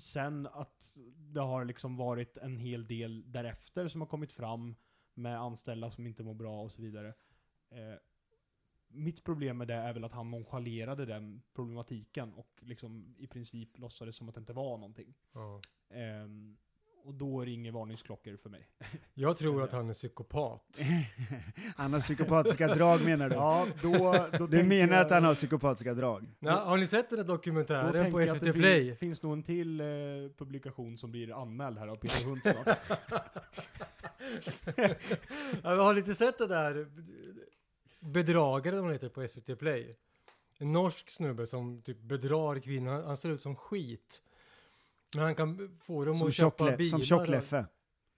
D: sen att det har liksom varit en hel del därefter som har kommit fram med anställda som inte mår bra och så vidare. Eh, mitt problem med det är väl att han nonchalerade den problematiken och liksom i princip låtsades som att det inte var någonting.
B: Ja.
D: Ehm, och då ringer varningsklockor för mig.
B: Jag tror att han är psykopat.
C: han har psykopatiska drag menar du?
D: Ja, då, då
C: Du menar att han har psykopatiska drag?
B: Nej, har ni sett den där
D: Då
B: dokumentären
D: tänker
B: på
D: jag att
B: SVT
D: det blir,
B: Play?
D: finns nog en till eh, publikation som blir anmäld här av Peter Hunt snart.
B: ja, men har ni inte sett det där bedragare de heter på SVT Play? En norsk snubbe som typ bedrar kvinnor. Han, han ser ut som skit. Men han kan få dem
C: Som,
B: att köpa
C: tjockle,
B: bilar.
C: som
B: och-
C: tjockleffe?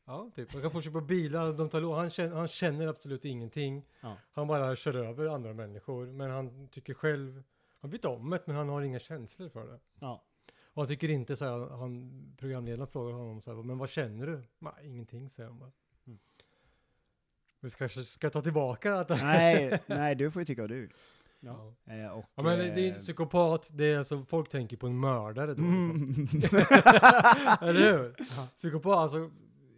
B: Ja, typ. Han kan få köpa bilar. och De tar lån. Han, känner, han känner absolut ingenting.
D: Ja.
B: Han bara kör över andra människor. Men han tycker själv... Han vet om det, men han har inga känslor för det.
D: Ja.
B: Och han tycker inte så här, han, programledaren frågar honom så här, men vad känner du? Nej, ingenting, säger han bara.
D: Mm.
B: Vi kanske ska ta tillbaka att
C: nej, nej, du får ju tycka vad du vill.
D: Ja.
B: Ja.
C: Eh, och,
B: Ja, men det är
C: eh,
B: en psykopat, det är alltså, folk tänker på en mördare då. Liksom.
C: Mm.
B: Eller hur? Psykopat, alltså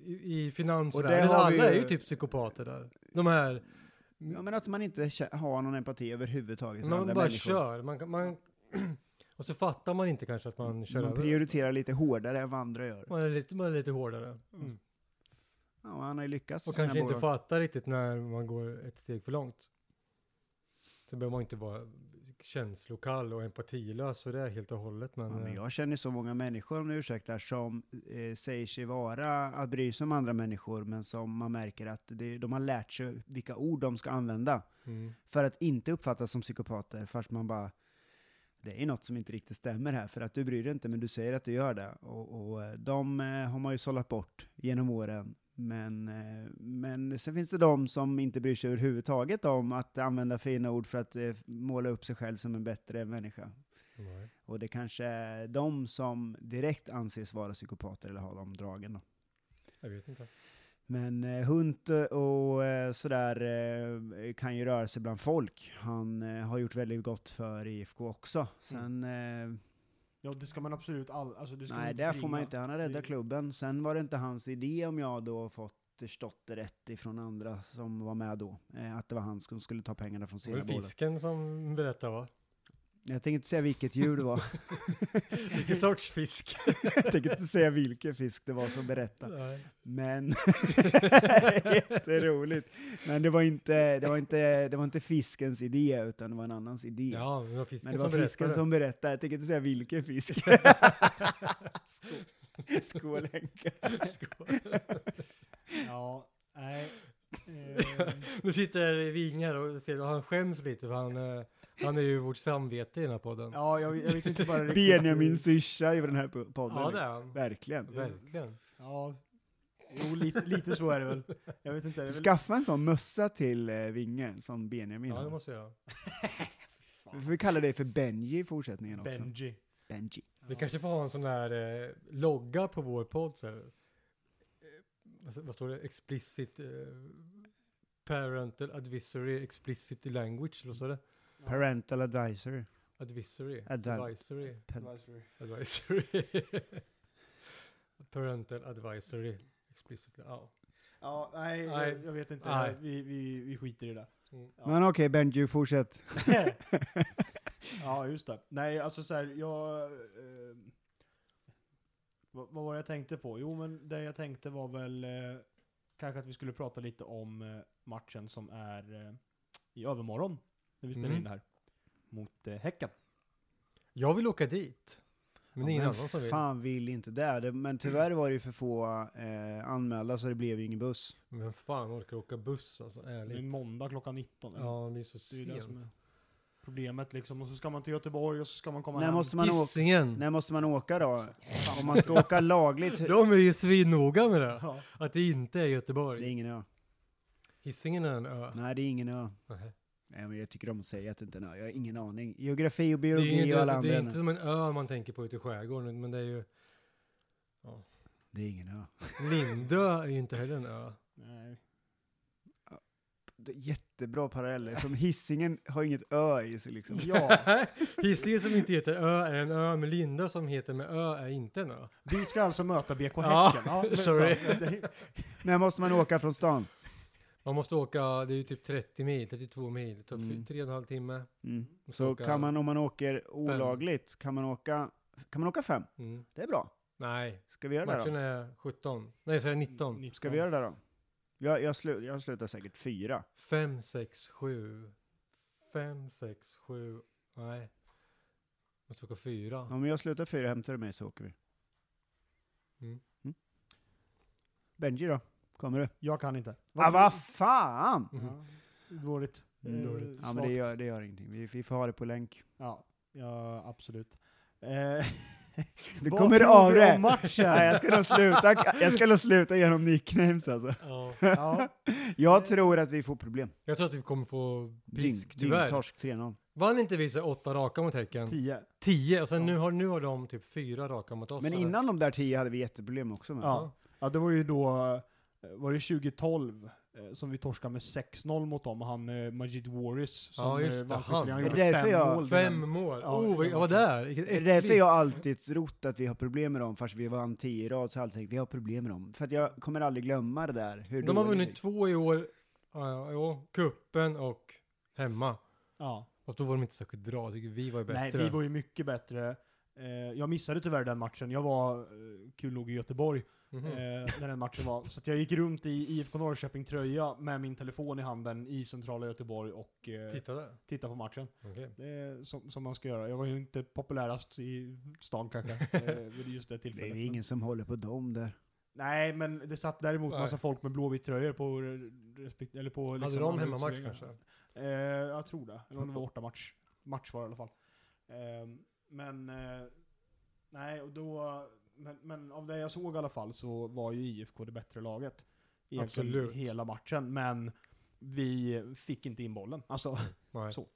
B: i, i finansvärlden,
C: Och det har vi
B: alla är ju
C: ju-
B: typ psykopater där. De här,
C: ja, men att man inte kä- har någon empati överhuvudtaget för
B: man
C: andra
B: bara
C: människor.
B: kör. Man, kan- man, och så fattar man inte kanske att man kör
C: Mm, Man
B: över.
C: prioriterar lite hårdare än vad andra gör.
B: Man är lite, man är lite hårdare.
C: Ja, och han har ju lyckats. i
B: Och
C: Mm. sina
B: kanske inte
C: bolag.
B: fattar riktigt när man går ett steg för långt. Så behöver man inte vara känslokall och empatilös för det är helt och hållet. Men,
C: Ja, men
B: eh,
C: jag känner så många människor, om du ursäktar, som eh, säger sig vara att bry sig om andra människor, men som man märker att det, de har lärt sig vilka ord de ska använda
B: mm.
C: för att inte uppfattas som psykopater, fast man bara det är något som inte riktigt stämmer här, för att du bryr dig inte, men du säger att du gör det. Och, och eh, de eh, har man ju sållat bort genom åren. Men, eh, men sen finns det de som inte bryr sig överhuvudtaget om att använda fina ord för att eh, måla upp sig själv som en bättre människa.
B: Nej.
C: Och det kanske är de som direkt anses vara psykopater eller har de dragen. Då.
B: Jag vet inte.
C: Men eh, Hunt och eh, sådär eh, kan ju röra sig bland folk. Han eh, har gjort väldigt gott för IFK också. Sen, eh,
D: Ja, det ska man absolut all, alltså, det ska man
C: nej
D: inte
C: där får
D: förringa.
C: man ju inte, han har
D: Det-
C: räddat klubben. Sen var det inte hans idé om jag då har fått förstått det rätt ifrån andra som var med då. Eh, att det var han som skulle ta pengarna från
B: Det var
C: sina
B: ju
C: bollar.
B: fisken som berättade va?
C: Jag tänker inte säga vilket djur det var.
B: Vilken sorts fisk?
C: Jag tänker inte säga vilken fisk det var som berättade.
B: Nej.
C: Men jätteroligt. Men det var, inte, det, var inte, det var inte fiskens idé, utan det var en annans idé.
B: Ja, men det var fisken
C: Men det var
B: som
C: fisken
B: berättade.
C: som berättade, jag tänker inte säga vilken fisk. Skål. Skål Henke.
D: Ja, nej. Ehm,
B: Nu sitter Vingar och ser och han skäms lite för han, eh, han är ju vårt samvete i den här podden. Ja,
D: ja, jag, jag vet inte bara riktigt.
C: Benjamin syrsa i den här po- podden.
B: det är han.
C: Verkligen.
B: Verkligen.
D: Ja, jo, lite, lite så är det väl. Jag vet inte. Det är väl...
C: Skaffa en sån mössa till eh, Vinge, som Benjamin
B: Ja, det
C: har.
B: måste jag göra.
C: Vi får kalla dig för Benji i fortsättningen också.
D: Benji.
C: Benji.
B: Vi kanske får ha en sån där eh, logga på vår podd. Så här. Eh, vad- vad står det? Explicit eh, parental advisory, explicit language, eller vad står det?
C: Parental advisory.
B: Advisory,
C: Advan-
B: advisory,
D: Advisory.
B: advisory. parental advisory, explicit. Ja.
D: Ja, nej,
B: Nej.
D: jag, jag vet inte.
B: Nej.
D: Vi, vi, vi skiter i det.
B: Mm.
D: Ja.
C: Men okej Benji, fortsätt.
D: ja, just det. Nej, alltså så här, jag... Eh, vad, vad var det jag tänkte på? Jo, men det jag tänkte var väl eh, kanske att vi skulle prata lite om eh, matchen som är eh, i övermorgon, när vi spelar
B: Mm.
D: in det här, mot eh, Häcken.
B: Jag vill åka dit. Men
C: Ja,
B: det är ingen
C: men
B: annan som vill.
C: Fan vill inte det. det men tyvärr var det ju för få eh, anmälda så det blev ju ingen buss.
B: Men fan orkar åka buss alltså,
D: Det är
B: ärligt.
D: måndag klockan 19. eller?
B: Ja, det blir så
D: det är ju det som är
B: sent.
D: problemet liksom. Och så ska man till Göteborg och så ska man komma
C: När
D: hem.
C: måste, man åka,
B: Hisingen!
C: när måste man åka då? Om man ska åka lagligt? hur-
B: De är ju svinnoga med det.
D: Ja.
B: Att det inte är
C: Det är
B: Göteborg.
C: ingen ö.
B: Hisingen är en ö.
C: Nej, det är ingen ö.
B: Nej.
C: Nej, men jag tycker om att säga att det inte är en ö. Jag har ingen aning. Geografi och
B: Det är,
C: biologi
B: ju
C: och
B: inte,
C: alla
B: alltså,
C: andra
B: det är
C: ämnen.
B: inte som en ö man tänker på ute i skärgården, men det är ju...
C: Det är ingen ö.
B: Lindö är ju inte heller en ö.
D: Nej.
C: Det är jättebra paralleller. Som hissingen har inget ö i sig liksom.
D: Ja,
B: Hisingen som inte heter ö är en ö, men Lindö som heter med ö är inte en ö.
D: vi ska alltså möta BK Häcken.
B: Ja,
D: men-
B: sorry.
D: ja, det-
C: När måste man åka från stan?
B: Man måste åka, det är ju typ 30 mil, 32 mil, det tar
C: Mm.
B: fy- tre och en halv timme.
C: Mm.
B: Måste
C: Så
B: åka
C: kan man, om man åker olagligt, kan man åka, kan man åka fem?
B: Mm.
C: Det är bra.
B: Nej,
C: Ska vi göra det då?
B: matchen är 17. Nej, så är det 19.
C: Ska vi göra det då? Jag, jag, slu, jag slutar säkert fyra.
B: 5, 6, 7. 5, 6, 7. Nej. Måste åka fyra.
C: Om jag slutar fyra, hämtar du mig så åker vi.
B: Mm.
C: Benji då? Kommer du?
D: Jag kan inte.
C: Ah, vad fan!
B: Mhm.
D: Ja, dåligt.
C: Mm.
D: Eh,
C: Ja, men det
D: svagt.
C: gör, det gör ingenting. Vi, vi får ha det på länk.
D: Ja, ja absolut. Eh,
C: Du
D: Vad
C: kommer
D: tror
C: av
D: vi
C: det.
D: om matchen?
C: Nej, jag ska nog sluta, jag ska nog sluta genom nicknames alltså.
B: Ja.
D: Ja.
C: Jag tror att vi får problem.
B: Jag tror att vi kommer få
C: Ding,
B: pisk,
C: ding,
B: tyvärr.
C: torsk 3-0.
B: Vann inte vi så åtta raka mot Häcken?
D: 10.
B: Tio, och sen nu, har, nu har de typ fyra raka mot oss.
C: Men
B: eller?
C: innan de där tio hade vi jätteproblem också med.
D: Ja. ja, det var ju då, eh, var det 2012 eh, som vi torskade med 6-0 mot dem och han eh, Majid Waris som
B: Ja, just
D: eh,
B: det, han.
D: vann skytteligan,
C: Det är
D: gjorde
C: därför
D: fem
C: jag-
D: mål.
B: Fem mål!
D: Ja,
B: oh,
D: det
B: jag var
D: var-
B: där! Vilket
C: Det är därför
B: äckligt.
C: jag alltid trott att vi har problem med dem, fast vi vann tio i rad så har jag alltid tänkt vi har problem med dem. För att jag kommer aldrig glömma det där. Hur
B: De har
C: dåligt
B: vunnit
C: det-
B: två i år, ja, ja, kuppen och hemma.
D: Ja.
B: Och då var de inte särskilt bra, jag tycker vi var ju bättre.
D: Nej, vi var ju mycket bättre. Eh, jag missade tyvärr den matchen. Jag var eh, kul nog i Göteborg
B: Mhm.
D: eh, när den matchen var. Så att jag gick runt i IFK Norrköping-tröja med min telefon i handen i centrala Göteborg och eh,
B: Titta där.
D: tittade på matchen.
B: Okej.
D: Det är som, som man ska göra. Jag var ju inte populärast i stan kanske, eh, vid just det
C: Det
D: tillfället.
C: är ju ingen som håller på dem där.
D: Nej, men det satt däremot
B: Nej.
D: massa folk med blåvitt tröjor på... re- Respekt, eller på
B: Hade
D: liksom
B: de
D: andra
B: hemmamatch
D: utserveringar.
B: kanske?
D: Eh, jag tror det. Eller om det var bortamatch. Match var det i alla fall. Ehm, men... Eh, nej, och då... Men, men av det jag såg i alla fall så var ju IFK det bättre laget. Egentligen
B: Absolut.
D: hela matchen, men vi fick inte in bollen. Alltså,
B: Nej.
D: Så.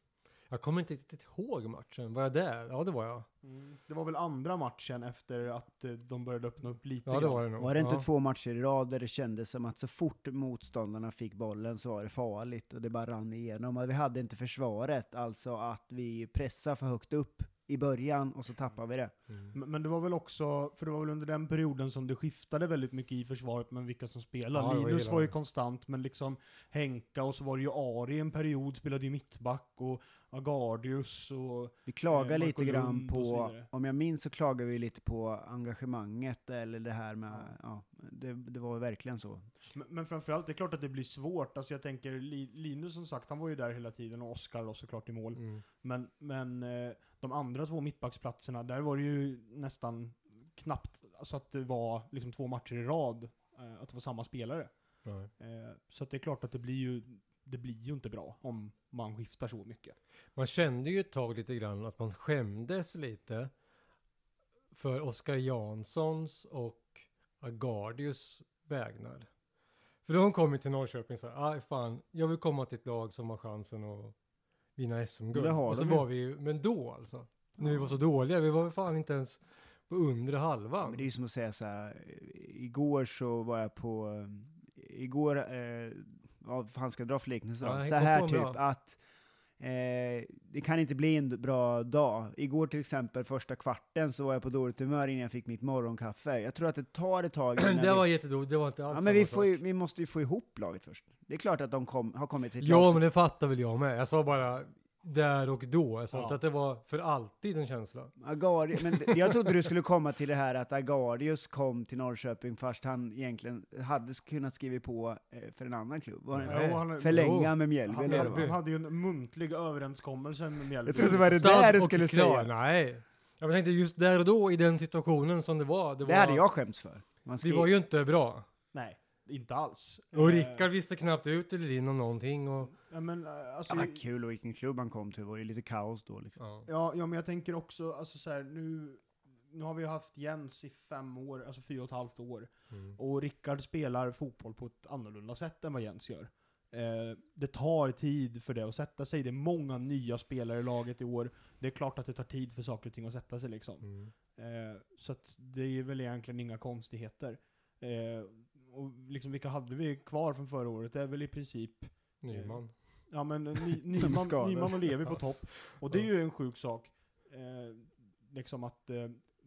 B: Jag kommer inte riktigt ihåg matchen. Var jag där? Ja, det var jag.
D: Mm. det var väl andra matchen efter att eh, de började öppna upp lite
B: Ja, det
D: grann.
B: var det nog.
C: Var det inte
B: ja.
C: två matcher i rad där det kändes som att så fort motståndarna fick bollen så var det farligt och det bara rann igenom. Och vi hade inte försvaret, alltså att vi pressade för högt upp i början och så tappade vi det.
B: Mm.
D: Men men det var väl också, för det var väl under den perioden som det skiftade väldigt mycket i försvaret med vilka som spelade.
B: Ja, det var
D: Linus
B: hela-
D: var ju konstant, men liksom Henka och så var det ju Ari en period, spelade ju mittback och Agardius och...
C: Vi klagar
D: Eh, Marco
C: lite grann
D: Lund och så
C: på,
D: vidare.
C: om jag minns så klagar vi lite på engagemanget eller det här med, ja, det, det var verkligen så.
D: Men, men framförallt, det är klart att det blir svårt. Alltså jag tänker, Li- Linus som sagt, han var ju där hela tiden och Oskar då såklart i mål.
B: Mm.
D: Men, men eh, de andra två mittbacksplatserna, där var det ju nästan knappt så att det var liksom två matcher i rad, eh, att det var samma spelare.
B: Nej.
D: Eh, Så att det är klart att det blir ju, det blir ju inte bra om man skiftar så mycket.
B: Man kände ju ett tag lite grann att man skämdes lite för Oskar Janssons och Agardius vägnar. För de kom ju till Norrköping och sa, aj fan, jag vill komma till ett lag som har chansen att vinna SM-guld.
C: Det har
B: Och så
C: de ju.
B: var vi ju, men då alltså. När vi var så dåliga, vi var ju fan inte ens på undre
C: Ja,
B: halvan.
C: Men det är ju som att säga så här, eh, igår så var jag på, eh, igår, eh, ja, fan ska jag dra för liknelse
B: Ja,
C: då?
B: jag
C: Så
B: kom på
C: här
B: en
C: typ
B: bra.
C: att eh, det kan inte bli en bra dag. Igår till exempel, första kvarten, så var jag på dåligt humör innan jag fick mitt morgonkaffe. Jag tror att det tar ett tag innan
B: det var
C: vi,
B: jättedåligt, det var inte alls
C: ja, men
B: samma
C: vi,
B: sak.
C: får ju, vi måste ju få ihop laget först. Det är klart att de kom, har kommit till ett lag
B: Ja,
C: som-
B: men det fattar väl jag med. Jag sa bara där och då. Jag sa
D: Ja.
B: inte att det var för alltid en känsla.
C: Agardius, men det- jag trodde du skulle komma till det här att Agardius kom till Norrköping fast han egentligen hade sk- kunnat skriva på eh, för en annan klubb. Var det-
B: Nej.
D: Jo, han,
C: Förlänga
B: Jo.
C: med Mjällby
D: han,
C: eller
D: han,
C: vad?
D: han hade ju en muntlig överenskommelse med Mjällby.
C: Jag trodde det var det
B: Stad
C: där du
B: och
C: skulle
B: klar.
C: säga.
B: Nej. Jag tänkte just där och då i den situationen som det var. Det,
C: Det
B: var,
C: hade jag skämts för. Man
B: Vi
C: skrev,
B: var ju inte bra.
D: Nej, inte alls.
B: Och
D: Eh,
B: Rickard visste knappt ut eller in om någonting. Och,
D: Ja, men, eh, alltså,
C: ja, vad kul och vilken klubb han kom till, det var ju lite kaos då liksom.
B: ja.
D: ja, ja, men jag tänker också, alltså så här, nu, nu har vi ju haft Jens i fem år, alltså fyra och ett halvt år.
B: mm.
D: Och Rickard spelar fotboll på ett annorlunda sätt än vad Jens gör. Eh, det tar tid för det att sätta sig. Det är många nya spelare i laget i år. Det är klart att det tar tid för saker och ting att sätta sig liksom.
B: Mm.
D: Eh, så att det är väl egentligen inga konstigheter. Eh, och liksom vilka hade vi kvar från förra året? Det är väl i princip,
B: Nyman.
D: ja men eh, Ny-
C: Som
D: Nyman,
C: skadades.
D: Nyman och Levi på topp. Och det är ju en sjuk sak. Eh, liksom att eh,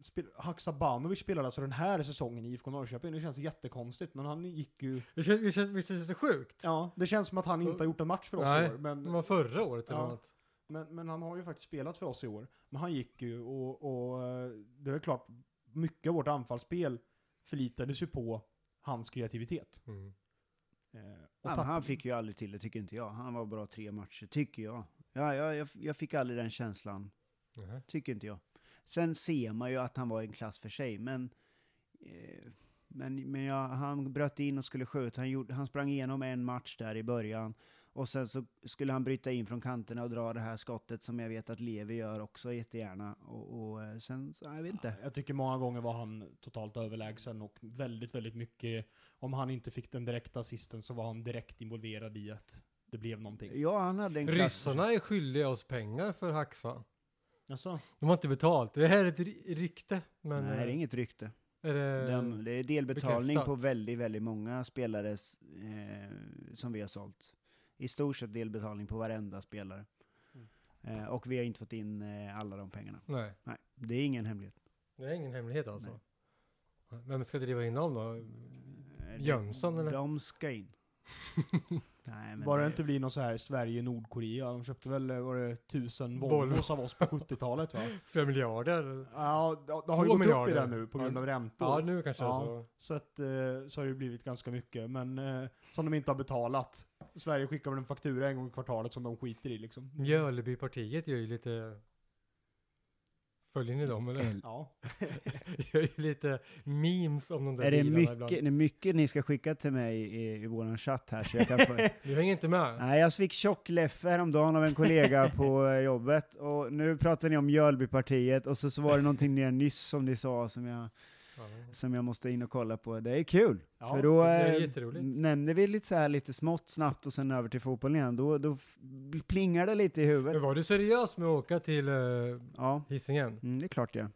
D: spe- Haksabanovic spelade alltså den här säsongen i IFK Norrköping. Det känns jättekonstigt, men han gick ju...
B: Det känns, det känns, det känns lite sjukt.
D: Ja, det känns som att han inte har gjort en match för oss
B: Nej.
D: i år.
B: Det
D: Men,
B: var förra året eller
D: Ja.
B: något.
D: men, men han har ju faktiskt spelat för oss i år. Men han gick ju och, och eh, det är klart, mycket av vårt anfallsspel förlitades ju på hans kreativitet.
B: Mm.
D: Eh, och
C: Ja, men
D: tapp-
C: han fick ju aldrig till det, tycker inte jag. Han var bra tre matcher, tycker jag. Ja, jag, jag, jag fick aldrig den känslan,
B: Nej.
C: tycker inte jag. Sen ser man ju att han var i en klass för sig, men... Eh, men men ja, han bröt in och skulle skjuta. Han, gjorde, han sprang igenom en match där i början. Och sen så skulle han bryta in från kanterna och dra det här skottet som jag vet att Levi gör också jättegärna. Och, och eh, sen, så, jag vet inte.
D: Jag tycker många gånger var han totalt överlägsen och väldigt, väldigt mycket, om han inte fick den direkta assisten så var han direkt involverad i att det blev någonting.
C: Ja, han hade en klass.
B: Ryssarna är skyldiga oss pengar för Haxa.
D: Alltså,
B: De har inte betalt. Det här är ett ry- rykte. Men
C: Nej, det är
B: eh,
C: inget rykte.
B: är det,
C: Dem- det är delbetalning
B: Eh, bekräftat.
C: på väldigt, väldigt många spelares eh, som vi har sålt. I stort sett delbetalning på varenda spelare.
D: Mm.
C: Eh, och vi har inte fått in eh, alla de pengarna.
B: nej,
C: Nej, det är ingen hemlighet.
B: det är ingen hemlighet alltså. Vem ska driva in dem då?
C: Eh,
B: Jönsson,
C: de,
B: eller?
C: De ska in. Nej, men
D: bara det inte blir någon så här Sverige-Nordkorea, de köpte väl, eh, var det tusen
B: Volvo.
D: Volvos av oss på 70-talet va?
B: Flera miljarder?
D: Ja, det det
B: Två
D: har ju gått upp i
B: miljarder.
D: det nu på grund av räntor.
B: Ja, nu kanske
D: Ja.
B: alltså.
D: Så, att, eh, så har det ju blivit ganska mycket, men eh, som de inte har betalat. Sverige skickar väl en faktura en gång i kvartalet som de skiter i liksom.
B: Mjölbypartiet gör ju lite... Följer ni dem
C: Mm.
B: eller?
D: Ja.
B: gör ju lite memes om de där
C: Är det,
B: bilarna
C: mycket,
B: ibland.
C: det är mycket ni ska skicka till mig i, i våran chatt här så jag kan få...
B: Du hänger inte med?
C: Nej, jag fick tjock leffe häromdagen av en kollega på eh, jobbet och nu pratar ni om Mjölbypartiet och så, så var det någonting ni nyss som ni sa som jag,
B: Ja.
C: som jag måste in och kolla på. Det är kul!
D: Ja,
C: För då
B: det är
C: eh,
B: jätteroligt.
C: nämnde vi lite så här lite smått snabbt och sen över till fotbollen igen. Då, då f- plingar det lite i
B: Men
C: huvudet.
B: var du seriös med att åka till uh,
C: Ja,
B: Hisingen?
C: mm, det är klart jag.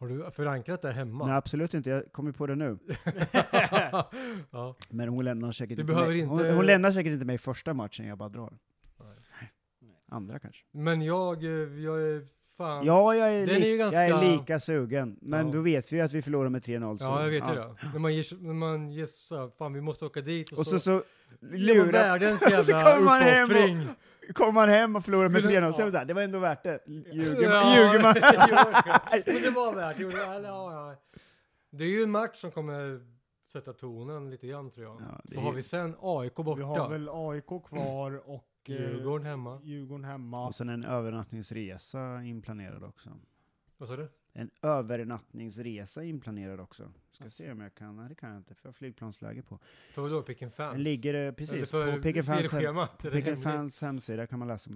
B: Har du förankrat det hemma?
C: Nej, absolut inte. Jag kommer på det nu.
B: ja.
C: Men hon lämnar säkert,
B: Du
C: inte
B: behöver
C: mig. Hon,
B: inte-
C: hon lämnar säkert inte mig första matchen, jag bara drar.
B: Nej.
C: Andra kanske.
B: Men jag, eh, jag är fan...
C: Ja, jag är,
B: Den är
C: li-
B: ju ganska-
C: jag är lika sugen. Men
B: Ja.
C: då vet vi ju att vi förlorar med 3-0. så-
B: Ja, jag vet ju det. När man ger, när man ger så här, fan vi måste åka dit och,
C: Och så, så
B: gör man
C: lurar,
B: världens
C: så
B: jävla
C: kommer man hem och-
B: uppoffring.
C: kommer man hem och förlorar med
B: Skulle-
C: 3-0, så är
B: ja.
C: det så här, det var ändå värt det. Ljuger man?
B: Ja,
C: Ljuger man?
B: Men det var värt det. gjorde det. Ja, ja, ja. Det är ju en match som kommer sätta tonen lite grann tror jag.
C: Ja, det
B: Vad har
C: är-
B: vi sen? AIK borta.
D: Vi har väl AIK kvar och eh,
B: Djurgården hemma.
D: Djurgården hemma.
C: Och sen en övernattningsresa inplanerad också.
B: Vad sa du?
C: En övernattningsresa inplanerad också. Ska se om jag kan, nej det kan jag inte, för jag har flygplansläge på.
B: För vadå? Pick Fans?
C: Den ligger eh,
B: Eller
C: precis
B: för
C: på Pick Fans, hem,
B: schemat. Är det
C: Pick and
B: hemligt?
C: Fans hemsida kan man läsa om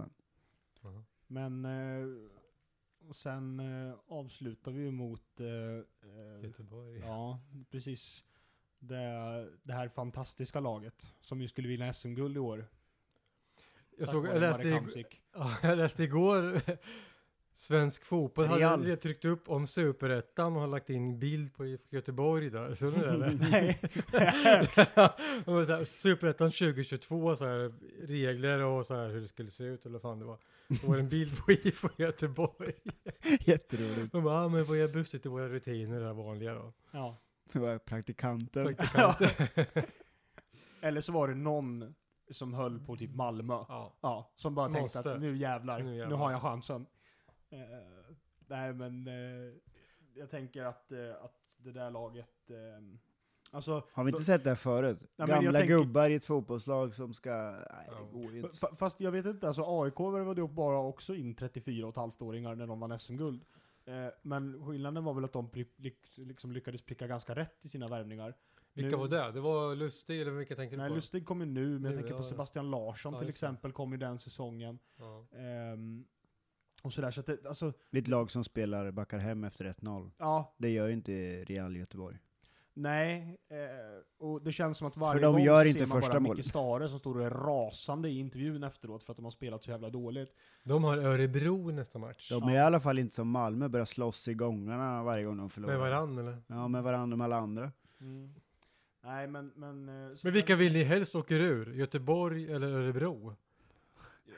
C: den.
D: Men eh, och sen eh, avslutar vi ju mot, eh, eh,
B: Göteborg.
D: ja precis, det, det här fantastiska laget som ju skulle vinna SM-guld i år.
B: Jag,
D: tack
B: såg,
D: vare
B: jag, läste,
D: Marek
B: ig-
D: Hamsik.
B: ja, jag läste igår Svensk fotboll
C: Real.
B: hade tryckt upp om superettan och har lagt in bild på IFK Göteborg där. Såg ni det eller?
C: Nej.
B: Och så här, Superettan 2022, så här, regler och så här, hur det skulle se ut eller vad fan det var. Det var det en bild på IFK Göteborg.
C: Jätteroligt.
B: De bara, ah, men vi har brustit i våra rutiner, det här vanliga då.
D: Ja.
C: Det var praktikanten.
B: Praktikanter.
D: Eller så var det någon som höll på typ Malmö.
B: ja.
D: Ja, som bara tänkte
B: Måste.
D: att nu jävlar,
B: Nu
D: nu,
B: jävlar.
D: har jag chansen. Eh, nej men, eh, jag tänker att, eh, att det där laget, eh, alltså
C: Har vi inte sett det här förut?
D: men jag
C: Gamla
D: tänker-
C: gubbar i ett fotbollslag som ska... Nej,
B: Ja.
C: det går ju inte.
D: Fa- Fast jag vet inte, alltså AIK värvade upp bara också in 34,5-åringar när de vann SM-guld. Eh, men skillnaden var väl att de pri- lyck- liksom lyckades pricka ganska rätt i sina värvningar.
B: Vilka
D: Nu-
B: var det? Det var Lustig eller vilka tänker du
D: Nej,
B: på?
D: Lustig kom ju nu, men jag
B: Nu,
D: tänker
B: ja,
D: på
B: ja.
D: Sebastian Larsson
B: Ja,
D: till
B: just det.
D: exempel, kom ju den säsongen.
B: Ja.
D: Ehm, och sådär, så att det, alltså,
C: Det är ett lag som spelar backar hem efter 1-0.
D: ja,
C: Det gör ju inte Real Göteborg.
D: nej. Eh, och det känns som att varje
C: För de
D: gång
C: gör
D: så
C: inte
D: ser man
C: första
D: bara
C: målet.
D: Micke Stare som står och är rasande i intervjun efteråt för att de har spelat så jävla dåligt.
B: De har Örebro nästa match.
C: De är i alla fall inte som Malmö, börjar slåss i gångarna varje gång de förlorar.
B: Med varann eller?
C: Ja, med varandra och med alla andra.
D: Nej, men... Men, eh, så-
B: Mm. Men vilka vill ni helst åker ur? Göteborg eller Örebro?
D: Ja.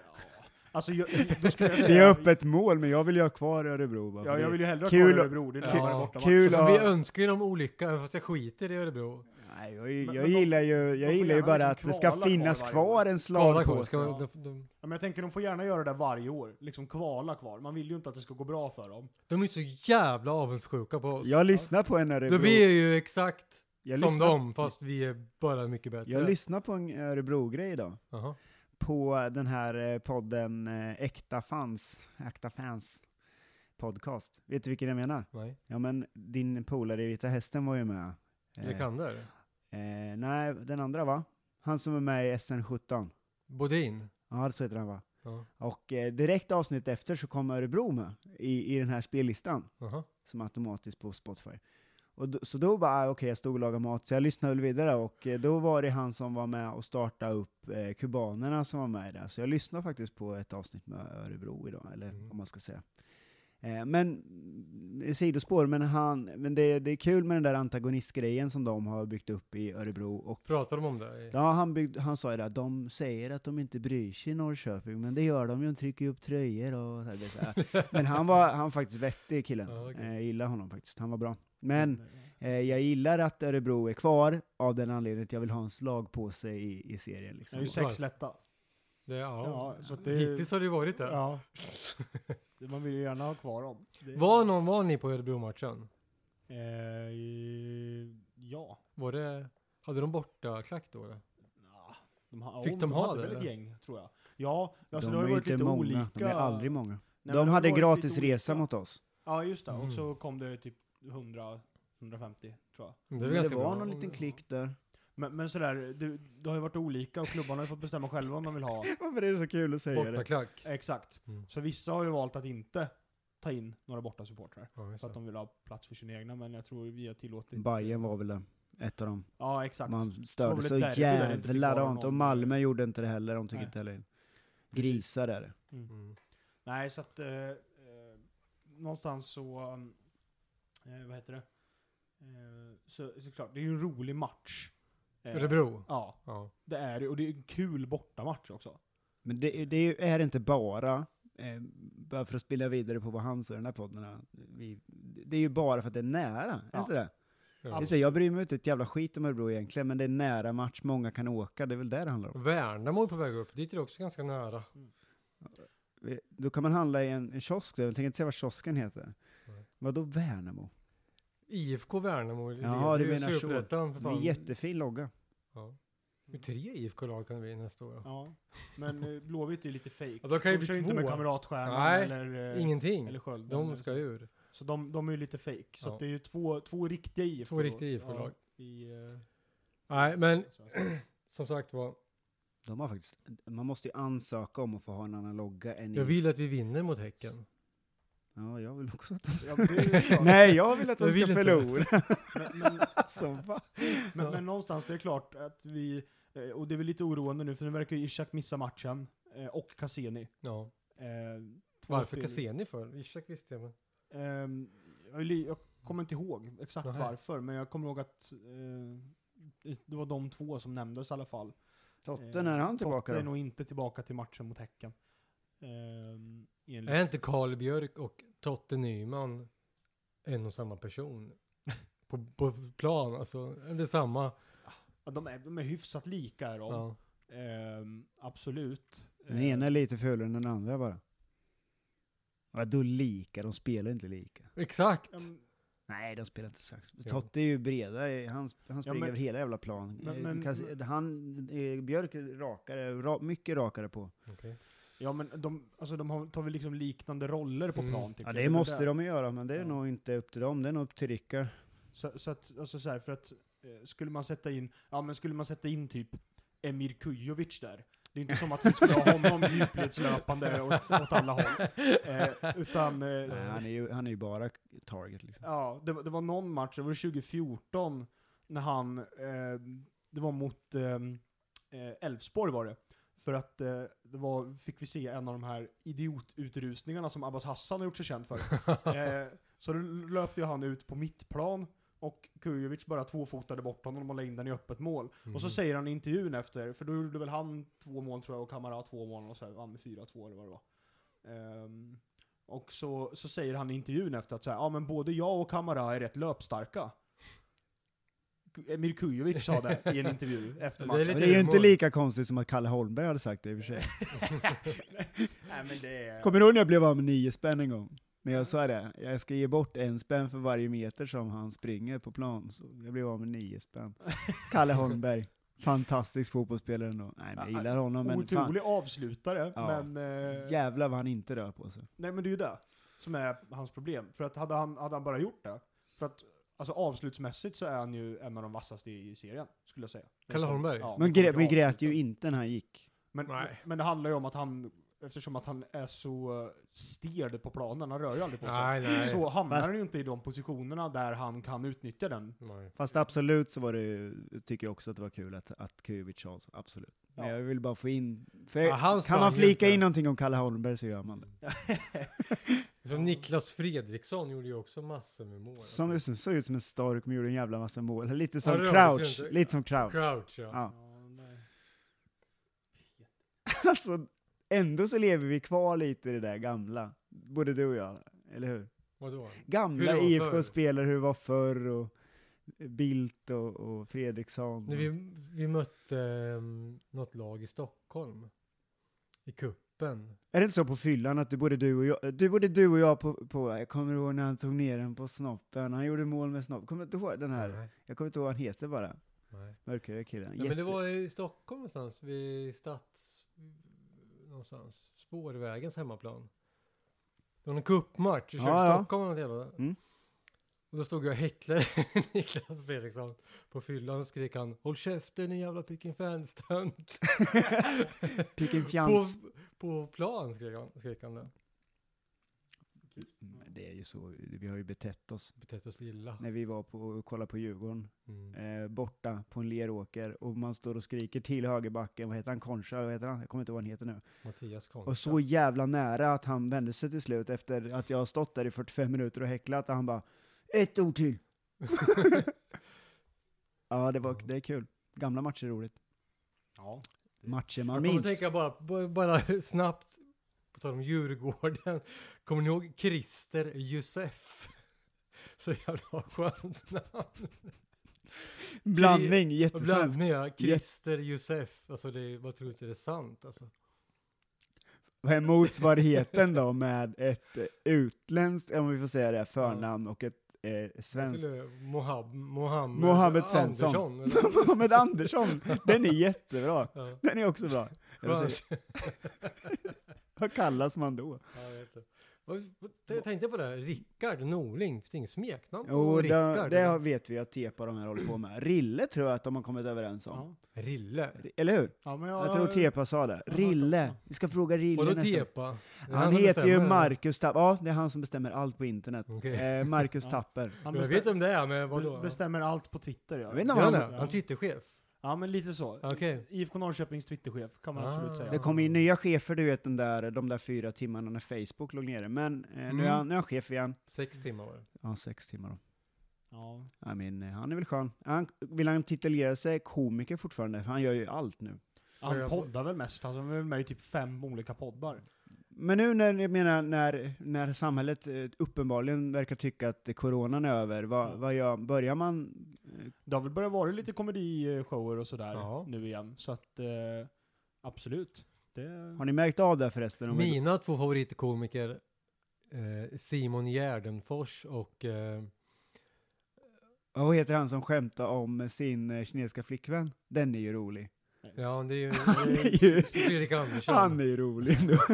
D: Alltså, jag, då skulle jag
C: Vi
D: säga...
C: är upp ett mål, men jag vill ju ha kvar Örebro. Bara,
D: Ja,
C: för
D: jag
C: det-
D: vill ju hellre ha
C: Kul
D: kvar
C: att-
D: Örebro, det är
B: Ja.
D: ja. bara borta
C: Kul
B: Alltså,
C: att-
B: vi önskar ju dem olycka, även fast jag skiter i Örebro.
C: Nej, jag, jag,
D: Men-
C: jag
D: men de-
C: gillar ju, jag
D: får
C: gillar ju
D: gärna
C: bara
D: liksom
C: att det ska
D: kvala kvar
C: finnas
D: varje
C: kvar
D: år.
C: en
B: Kvala kvar,
C: slagpåse.
B: ska
D: Ja.
B: de, de,
D: Ja, men jag tänker de får gärna göra det där varje år. Liksom kvala kvar. Man vill ju inte att det ska gå bra för dem.
B: de är ju så jävla avundsjuka på oss.
C: Jag lyssnar på en Örebro.
B: Då vi är ju exakt
C: jag
B: som
C: lyssnar,
B: dem, fast vi är bara mycket bättre.
C: Jag lyssnar på en Örebro-grej idag.
B: Jaha.
C: På den här eh, podden eh, Äkta Fans, Äkta Fans podcast. Vet du vilken jag menar?
B: Nej.
C: Ja men din polare i Vita Hästen var ju med. Eh,
B: Lekander?
C: eh, nej, den andra va? Han som är med i SN17.
B: Bodin.
C: Ja, så heter han va?
B: Ja.
C: Och eh, direkt avsnitt efter så kom Örebro med i, i den här spellistan
B: Aha.
C: som automatiskt på Spotify. Och då, så då bara, ah, okej, jag stod och lagade mat, så jag lyssnade väl vidare och eh, då var det han som var med och startade upp eh, kubanerna som var med där. Så jag lyssnade faktiskt på ett avsnitt med Örebro idag, eller
B: Mm.
C: vad man ska säga. Eh, men, eh, sidospår, men, han, men det, det är kul med den där antagonistgrejen som de har byggt upp i Örebro och
B: Pratar de om det? i-
C: Ja, han, byggd, han sa ju det, att de säger att de inte bryr sig i Norrköping, men det gör de ju, de trycker ju upp tröjor och så här, det är så här. Men han var, han var faktiskt vettig killen.
B: Ja, okej.
C: Eh, Jag gillar honom faktiskt, han var bra.
D: Mm.
C: Men eh, jag gillar att Örebro är kvar av den anledningen att jag vill ha en slagpåse i, i serien.
D: Det
C: Liksom.
D: är ju sex lätta.
B: Det, ja.
D: Ja, så att det,
B: Hittills har det ju varit det.
D: Ja. Det- Man vill ju gärna ha kvar dem. Det-
B: Var någon var ni på Örebro-matchen?
D: Eh, ja.
B: Var det, hade de borta klack då? eller?
D: Nja, Ah, De ha,
B: Fick
D: jo,
B: de ha
D: hade
B: det,
D: väl ett
B: eller?
D: gäng, tror jag. Ja, alltså
C: de
D: det har
C: är
D: ju varit
C: inte
D: lite
C: många,
D: olika.
C: de är aldrig många.
D: Nej, men
C: de hade
D: det har varit lite
C: gratis resa
D: olika.
C: mot oss.
D: Ja, just det.
B: Mm.
D: Och så kom det typ 100, 150, tror jag.
B: Det,
C: Det,
B: väl
C: det
B: ganska
C: var
B: bra.
C: någon liten klick där.
D: Men, men sådär, det, det har ju varit olika och klubbarna har ju fått bestämma själva om de vill ha.
C: Varför är det så kul att säga
B: Borta
C: det?
B: klack.
D: Exakt.
B: Mm.
D: Så vissa har ju valt att inte ta in några borta supportrar
B: Ja, just
D: För att
B: det.
D: de vill ha plats för sina egna, men jag tror vi har tillåtit...
C: Bayern var väl det, ett av dem.
D: Ja, exakt.
C: Man
D: var
C: störde
D: väl
C: så
D: ett derby där det inte fick
C: jävla
D: vara
C: rant. Och
D: någon-
C: Malmö gjorde inte det heller, de tycker
D: Nej.
C: inte heller in.
D: Precis.
C: Grisar är det.
B: Mm.
D: Nej, så att eh, eh, någonstans så, eh, vad heter det? Eh, så, såklart, det är ju en rolig match. Eh,
B: Örebro?
D: Ja,
B: Ja.
D: det är det. Och det är en kul bortamatch också.
C: Men det, det är ju- är inte bara, eh, bara för att spela vidare på vad han sa i den här podden, här, vi, det är ju bara för att det är nära, är
D: Ja.
C: inte det? det är
B: ja.
C: så, jag bryr mig inte ett jävla skit om Örebro egentligen, men det är nära match, många kan åka, det är väl det det handlar om.
B: Värnamo är på väg upp. Dit är det också ganska nära.
C: Vi- Då kan man handla i en, en kiosk där, jag tänker inte säga vad kiosken heter.
B: Nej.
C: Vadå Värnamo?
B: IFK Värnamo
C: Jaha,
B: leder
C: du
B: ju
C: menar så.
B: Superettan, för
C: Det är en
B: fan.
C: jättefin logga.
B: Ja. Hur tre IFK-lag kan det bli nästa år? då?
D: Ja. Men eh, Blåvitt är ju lite fake.
B: Ja, de kan ju bli
D: kör inte
B: två.
D: med Kamratstjärnan
B: Nej,
D: eller, eh,
B: Ingenting.
D: eller Skölden.
B: De ska ur.
D: Så de, de är ju lite fake. Så
B: Ja.
D: att det är ju två, två riktiga IFK.
B: Två riktiga IFK-lag.
D: Ja, i, eh,
B: Nej, men
D: Allsvenskan.
B: som sagt var.
C: De har faktiskt, man måste ju ansöka om att få ha en annan logga än
B: Jag
C: i-
B: vill att vi vinner mot Häcken.
C: Ja, jag vill också att
D: Ja, det är ju klart.
C: Nej, jag vill att
B: Jag
C: de ska
B: vill inte.
C: förlora.
D: Men, men,
C: Alltså, va?
D: Men,
B: Ja.
D: men någonstans, det är klart att vi, eh, och det är väl lite oroande nu, för nu verkar ju Ishak missa matchen, eh, och Cassini.
B: Ja.
D: Eh, två
B: Varför
D: spel-
B: Cassini för? Ishak visste jag men.
D: Ehm, jag, vill- jag kommer inte ihåg exakt
B: Nähä.
D: varför, men jag kommer ihåg att eh, det var de två som nämndes i alla fall.
C: Totte, när är han tillbaka
D: Totte är
C: då?
D: nog inte tillbaka till matchen mot Häcken. Ehm, enligt-
B: Är inte Karl Björk och Totte Nyman en och samma person? På, på plan, alltså. Det är samma.
D: Ja, de, är, de är hyfsat lika är de.
B: Ja.
D: Ehm, absolut.
C: Den
D: Ehm,
C: ena är lite fulare än den andra bara. Vadå lika? De spelar inte lika.
B: Exakt.
D: ehm,
C: Nej, de spelar inte sax.
B: Jo.
C: Totte är ju bredare, han, han springer
D: men-
C: över hela jävla plan.
D: Men-
C: Eh,
D: men-
C: Kas- han, eh, Björk är rakare, ra, mycket rakare på.
B: Okej.
D: Ja men de, alltså de har, tar väl liksom liknande roller på
B: Mm.
D: plan tycker
C: Ja,
D: jag.
C: det måste de ju göra, men det är
D: Ja.
C: nog inte upp till dem, det är nog upp till Rickard.
D: Så, så att, alltså så här, för att eh, skulle man sätta in, ja men skulle man sätta in typ Emir Kujovic där, det är inte som att vi skulle ha honom djupledslöpande åt, åt alla håll. Eh, utan,
C: Nej,
D: eh,
C: Han, är ju, han är ju bara target liksom.
D: ja, det, var- det var någon match, det var 2014, när han, eh, det var mot ehm, eh, Elfsborg var det. För att eh, det var, fick vi se en av de här idiotutrusningarna som Abbas Hassan har gjort sig känd för. Eh, så då löpte ju han ut på mittplan och Kujovic bara tvåfotade bort honom och la in den i öppet mål. Och så
B: Mm.
D: säger han i intervjun efter, för då gjorde väl han två mål tror jag och Kamara två mål och så här, vann med 4-2 eller vad det var. Ehm, och så, så säger han i intervjun efter att så här, ja men både jag och Kamara är rätt löpstarka. Ku- Emir Kujovic sa det i en intervju efter
B: Det är
D: matchen.
C: Men
B: lite
C: det är ju inte
B: humor.
C: lika konstigt som att Kalle Holmberg hade sagt det i och för sig.
D: Nej men det är...
C: Kommer du ihåg när jag blev av med nio spänn en gång? När jag sa det, jag ska ge bort en spänn för varje meter som han springer på plan. Så jag blev av med nio spänn. Kalle Holmberg, fantastisk fotbollsspelare ändå. Nej, men jag gillar honom, men fan,
D: Otrolig avslutare,
C: Ja.
D: men... eh,
C: jävlar vad han inte rör på sig.
D: Nej men det är ju det som är hans problem. För att hade han, hade han bara gjort det, för att alltså avslutsmässigt så är han ju en av de vassaste i serien, skulle jag säga.
B: Kalle Holmberg?
C: Men
D: det kommer
C: grä,
D: till
C: vi grät ju
D: avsluten.
C: inte när han gick.
D: Men,
B: Nej.
D: men det handlar ju om att han, eftersom att han är så eh, stel på planen, han rör ju aldrig på sig.
B: Nej, nej.
D: Så hamnar
C: Fast-
D: han ju inte i de positionerna där han kan utnyttja den.
B: Nej.
C: Fast absolut så var det ju- tycker jag också att det var kul att, att Kujovic sa så, absolut. Men
D: Ja.
C: jag vill bara få in, för
B: Ja, han
C: kan
B: sprang
C: man
B: ju
C: flika
B: inte.
C: in någonting om Kalle Holmberg så gör man det.
B: Så Niklas Fredriksson gjorde ju också massor med mål. Alltså,
C: Som just nu, såg ut som en stork men gjorde en jävla massa mål. Lite som
B: Ja, det rörde sig
C: Crouch,
B: inte.
C: lite som Crouch.
B: Crouch, ja.
C: Ja. Alltså, ändå så lever vi kvar lite i det där gamla. Både du och jag, eller hur?
B: Vadå? Hur
C: Gamla
B: det var förr.
C: IFK-spelare, hur det var förr och Bildt och, och Fredriksson.
B: När vi, vi mötte um, något lag i Stockholm. I kuppen.
C: Är det inte så på fyllan att du både du och jag, du, både du och jag på, på, jag kommer ihåg när han tog ner den på snoppen, han gjorde mål med snoppen. Kommer du inte ihåg den här?
B: Nej.
C: Jag kommer inte ihåg vad han heter bara.
B: Nej.
C: Mörkare killen.
B: Nej, men det
C: Jätte-
B: var i Stockholm någonstans. Vid stads... Någonstans. Spårvägens hemmaplan. Det var någon cupmatch. Vi körde
C: Ja, ja.
B: Stockholm eller något jävla.
C: Mm.
B: Och då stod jag och häcklade Niklas Fredriksson på fyllan och skrek han Håll käften din jävla picken fan-stunt.
C: Piken
B: på,
C: Fjans.
B: på plan skrek han, skrek han det.
C: Men Mm, Det är ju så, vi har ju betett oss.
B: Betett oss illa.
C: När vi var på och kollade på Djurgården,
B: Mm.
C: eh, borta på en leråker, och man står och skriker till högerbacken, vad heter han, Koncha, vad heter han? Jag kommer inte ihåg vad han heter nu.
B: Mattias Konsta.
C: Och så jävla nära att han vände sig till slut efter att jag har stått där i 45 minuter och häcklat och han bara ett ord till. ja, det, var, det är kul. Gamla matcher är roligt.
D: Ja.
C: Matcher
B: Jag
C: man
B: kommer att
C: minns.
B: tänka bara, bara, bara snabbt, på tal om Djurgården. Kommer ni ihåg Christer Josef? Så jävla skönt namn.
C: Blandning,
B: Och
C: jättesvensk.
B: Blandning ja, Christer Josef. Alltså det, man tror inte det är sant alltså.
C: Vad är motsvarigheten då med ett eh, utländskt, om vi får säga det, förnamn och ett eh, svenskt?
B: Skulle Mohab, Mohammed,
C: Mohammed Svensson.
B: Andersson, eller?
C: Mohammed Andersson, den är jättebra.
B: Ja,
C: Den är också bra. Eller så-
B: skönt.
C: Vad kallas man då?
B: Ja, jag vet inte. Vad- vad- Jag tänkte på det, här, Rickard Norling, finns det inget smeknamn på
C: Jo, det,
B: Rickard?
C: det har- vet vi att Tepa och de här håller på med. Rille tror jag att de har kommit överens om.
D: Ja.
B: Rille.
C: Eller hur?
D: Ja, men jag,
C: Jag tror Tepa sa det.
D: jag har hört
C: Rille.
D: också.
C: Vi ska fråga Rille
B: Vadå
C: nästa.
B: Tepa? Det är
C: Han,
B: som
C: heter ju
B: bestämmer, eller?
C: Marcus Tapper. Ja, det är han som bestämmer allt på internet.
B: Okej.
C: Eh, Marcus
D: Ja.
C: Tapper.
D: Han
B: Jag
D: bestäm,
B: vet om det är, men vadå?
D: be- bestämmer allt på Twitter. Ja.
C: Jag vet inte
B: Ja,
C: om
B: han,
C: han,
B: är. han
D: Ja.
B: är Twitterchef.
D: ja, men lite så.
B: Okej.
D: IFK Norrköpings Twitterchef kan man absolut
B: Ah.
D: säga.
C: det kom in nya chefer, du vet den där, de där fyra timmarna när Facebook låg nere. Men eh, nu, är
B: Mm.
C: han, nu är han chef igen.
B: Sex timmar var det.
C: Ja, sex timmar då.
D: Ja.
C: I mean, eh, han är väl skön. Han, vill han titulera sig komiker fortfarande? För han gör ju allt nu.
D: Han poddar väl mest, alltså, han är väl med i typ fem olika poddar.
C: Men nu när, jag menar, när, när samhället eh, uppenbarligen verkar tycka att eh, coronan är över, vad,
B: Mm.
D: Ja.
C: vad gör, börjar man? eh,
D: Det har väl börjat vara lite komedishower och sådär
B: Ja.
D: nu igen, så att eh, absolut. Det,
C: Har ni märkt av det förresten? Om vi-
B: Mina två favoritkomiker, eh, Simon Gärdenfors och... Eh,
C: Ja, Vad heter han som skämtar om sin eh, kinesiska flickvän? Den är ju rolig.
B: ja, det är ju...
C: Han är ju,
B: Fredrik Andersson.
C: han är ju rolig ändå.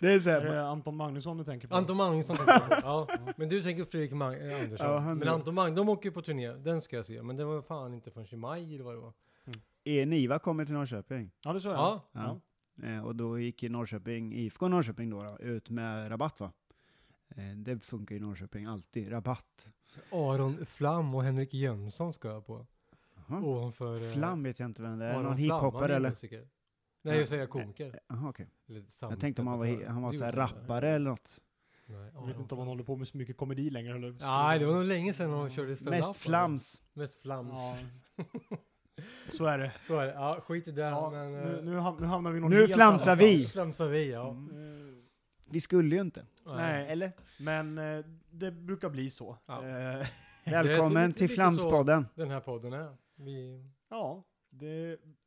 C: Det är så
D: är
C: här,
D: det Anton Magnusson du tänker på?
B: Anton Magnusson tänker jag på. ja. Men du tänker på Fredrik Mag- eh, Andersson.
C: Ja, han är-
B: men Anton Magnusson, de åker ju på turné. Den ska jag se. Men det var fan inte förrän i maj eller vad det var.
C: är Niva kommer till Norrköping.
D: Ja, det sa jag.
B: Ja.
C: Ja. Eh, Och då gick ju Norrköping, IFK Norrköping då, då ut med rabatt va? Eh, Det funkar ju i Norrköping alltid, rabatt.
B: Aron Flam och Henrik Jönsson ska jag på.
C: Jaha.
B: Ovanför... eh,
C: Flam vet jag inte vem det är,
B: Aron
C: någon
B: Flam, han
C: hiphoppare
B: är
C: eller?
B: musiker. Nej, jag säger komiker.
C: Jaha okej.
B: Eller
C: Jag tänkte om han var, he- han var
B: Det
C: så här
B: gjorde han inte.
C: rappare eller något.
B: Nej,
D: Jag vet inte om han håller på med så mycket komedi längre. Eller?
B: Nej, det var nog länge sedan de körde stand-up.
C: Mest flams.
B: Mest flams.
D: Ja. Så är det.
B: Så är det. Ja, skit i det.
D: Ja,
B: men,
D: nu,
B: eh,
D: nu, ham- nu hamnar vi i någon
C: Nu
D: helt
C: flamsar
D: annan
C: vi.
D: plats.
B: Flamsar vi, ja.
C: Mm.
D: Eh,
C: Vi skulle ju inte.
D: Nej, eller? Men eh, det brukar bli så.
B: Ja.
D: Eh,
B: Det är
C: Välkommen
B: lite-
C: till
B: lite så.
C: Flamspodden.
B: Den här podden är. Vi,
D: ja det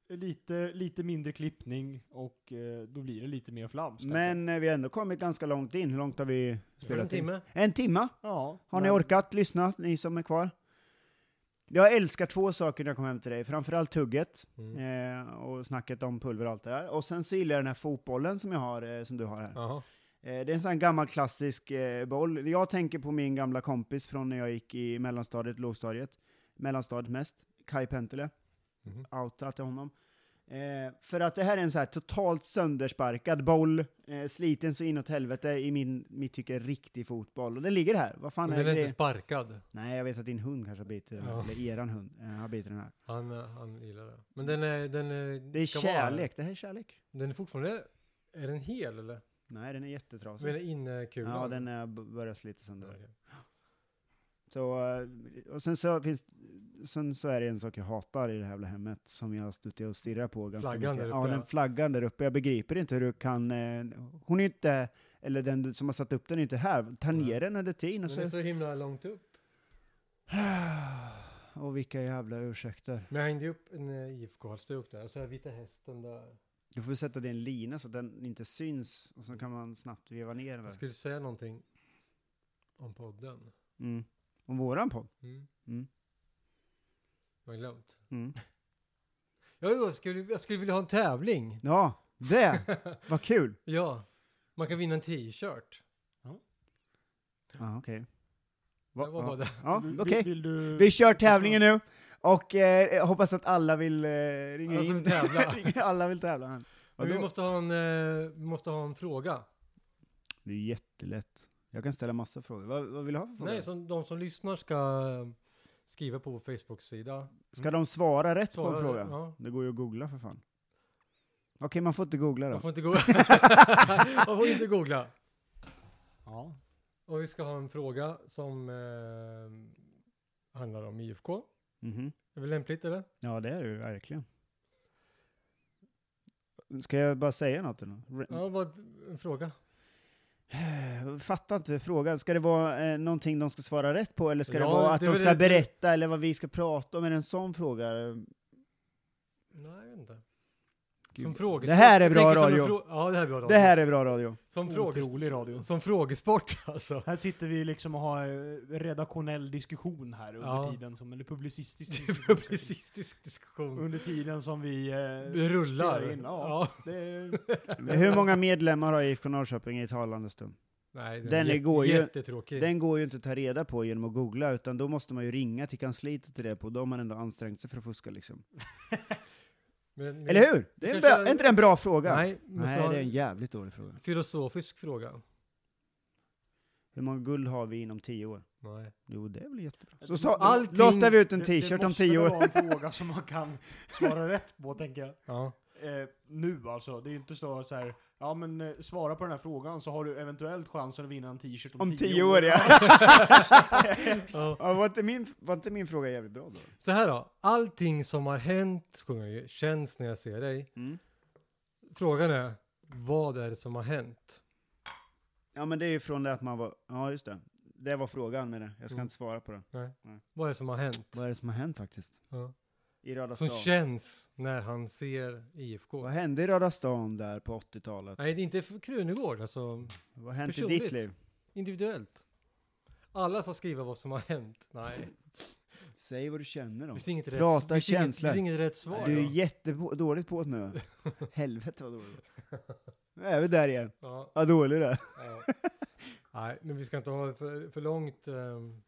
D: är lite, lite mindre klippning och eh, då blir det lite mer flams. tänker jag.
C: Men eh, vi har ändå kommit ganska långt in. Hur långt har vi
B: för en
C: spelat in?
B: timme.
C: En timma?
D: ja,
C: Har ni
D: men-
C: orkat lyssna, ni som är kvar? Jag älskar två saker när jag kommer hem till dig. Framförallt tugget
B: Mm.
C: eh, och snacket om pulver och allt det där. Och sen så gillar jag den här fotbollen som jag har, eh, som du har här.
B: Jaha.
C: Eh, det är en sån här gammal klassisk eh, boll. Jag tänker på min gamla kompis från när jag gick i mellanstadiet, lågstadiet. Mellanstadiet mest. Kai Pentele.
B: Mhm.
C: Outa till honom. Eh, Eh, för att det här är en så här totalt söndersparkad boll, eh, sliten så inåt helvete i min, mitt tycke, riktig fotboll. Och den ligger här. Vad fan
B: Men
C: är
B: den är
C: det?
B: inte sparkad.
C: Nej, jag vet att din hund kanske har bitit den, här,
B: Ja.
C: eller eran hund eh, har bitit den här.
B: Han, eh, han gillar det. Men den är... Den är
C: Det är
B: ska vara-
C: kärlek, det här är kärlek.
B: Den är fortfarande... Är den hel eller?
C: Nej, den är jättetrasig.
B: Med innekulan?
C: Alltså. Ja, den är- börjar slita
B: Ja,
C: sönder.
B: okej.
C: Så, eh, och sen så finns Sen så är det en sak jag hatar i det här jävla hemmet som jag har suttit och stirrat på ganska
B: Flaggan
C: mycket.
B: där
C: ja,
B: uppe,
C: den
B: ja.
C: flaggan där uppe. Jag begriper inte hur du kan... Eh, hon är inte... Eller den som har satt upp den är inte här. Ta ner
B: Nej.
C: den under tiden och
B: Den är
C: så...
B: så himla långt upp.
C: Och vilka jävla ursäkter.
B: Men jag hängde ju upp en eh, IFK-halsduk där, och så här Vita Hästen där.
C: Du får sätta dig i en lina så att den inte syns och så kan man snabbt veva ner den
B: Jag
C: där.
B: skulle säga någonting om podden.
C: Mm. Om våran podd.
B: Mm.
C: Mm.
B: Jag har glömt.
C: Mm.
B: Ja, jo, jag skulle, jag skulle vilja ha en tävling.
C: Ja, det! Vad kul!
B: Ja, man kan vinna en t-shirt.
C: Ja, okej. Va-
B: Det var bara
C: ja.
B: det. Mm.
C: Ja,
D: Vill-
C: okej.
D: vill- Vill du...
C: Vi kör tävlingen nu och eh, jag hoppas att alla vill eh, ringa
B: Alla som
C: in.
B: vill tävla.
C: Ringa- alla vill tävla. Men.
B: Men
C: Vadå?
B: vi måste ha en, eh, vi måste ha en fråga.
C: Det är jättelätt. Jag kan ställa massa frågor. Vad, vad vill du ha för frågor?
B: Nej, som de som lyssnar ska eh, skriva på vår Facebook-sida.
C: Ska de svara rätt på
B: Mm. Svara-
C: en fråga?
B: ja.
C: Det går ju att googla för fan. Okej, man får inte googla då.
B: Man får inte googla. Man får inte googla.
D: Ja.
B: Och vi ska ha en fråga som eh, handlar om IFK.
C: Mhm.
B: Är det lämpligt eller?
C: Ja, det är det ju verkligen. Ska jag bara säga något? Eller? Re-
B: Ja, bara ett- en fråga.
C: Jag Fattar inte frågan. Ska det vara eh, någonting de ska svara rätt på, eller ska det
B: Ja,
C: vara att
B: det är
C: de
B: väl
C: ska
B: det- det-
C: berätta, eller vad vi ska prata om? Är det en sån fråga?
B: Nej, jag vet inte.
C: Gud,
B: Som frågesport.
C: det här är
B: Jag
C: bra
B: tänker som en
C: radio.
B: frå- ja, det här är bra radio.
C: Det här är bra radio.
B: som,
D: Otrolig
B: frågesport.
D: radio.
B: som frågesport alltså.
D: Här sitter vi liksom och har eh, redaktionell diskussion här under
B: Ja.
D: tiden som, eller publicistisk
B: Det
D: diskussion.
B: är
D: kanske.
B: Publicistisk diskussion.
D: Under tiden som vi... Eh,
C: Mm.
B: Det rullar.
D: spelar in, ja. det är,
C: Hur många medlemmar har IFK Norrköping i talande stund?
B: Nej,
C: Den är- går ju-
B: jättetråkig.
C: Den går ju inte att ta reda på genom att googla, utan då måste man ju ringa till kansliet och ta reda på. Då har man ändå ansträngt sig för att fuska liksom.
B: Men- men-
C: Eller hur? Det är, en
B: kanske-
C: bra, är inte det en bra fråga?
B: Nej, men
C: Nej,
B: så har-
C: det är en jävligt dålig fråga.
B: filosofisk fråga.
C: Hur många guld har vi inom tio år?
B: Nej.
C: Jo, det är väl jättebra. Så
D: Men
C: sa-
B: allting-
C: lottar vi ut en
D: det-
C: t-shirt om tio år.
D: Det måste väl vara en fråga som man kan svara rätt på, tänker jag.
B: Ja.
D: Eh, nu alltså. Det är ju inte så, så här, ja men eh, svara på den här frågan så har du eventuellt chansen att vinna en t-shirt om,
C: Om tio år, ja.
B: Ja.
C: ja var, inte min, var inte min fråga jävligt bra då?
B: Så här då. Allting som har hänt, sjunger jag ju, känns när jag ser dig.
C: Mm.
B: Frågan är, vad är det som har hänt?
C: Ja, men det är ju från det att man var... Ja, just det. Det var frågan med det. Jag ska
B: Mm.
C: inte svara på den.
B: Vad är det som har hänt?
C: Vad är det som har hänt faktiskt?
B: Ja.
C: I Röda
B: Som
C: stan.
B: känns när han ser IFK?
C: Vad hände i Röda stan där på 80-talet?
B: Nej, det är inte för Krunegård, alltså
C: Vad hände i
B: Personligt.
C: ditt liv?
B: individuellt. Alla ska skriva vad som har hänt. Nej,
C: Säg vad du känner
B: det
C: om.
B: finns inget rätt,
C: Prata
B: det finns inget, det
C: känslor.
B: finns inget rätt svar.
C: Du är
B: då.
C: jättedåligt på det nu. Helvete vad dåligt. Nu är vi där igen.
B: ja,
C: Vad dålig du är.
B: ja. Nej, men vi ska inte ha det för, för långt. ehm,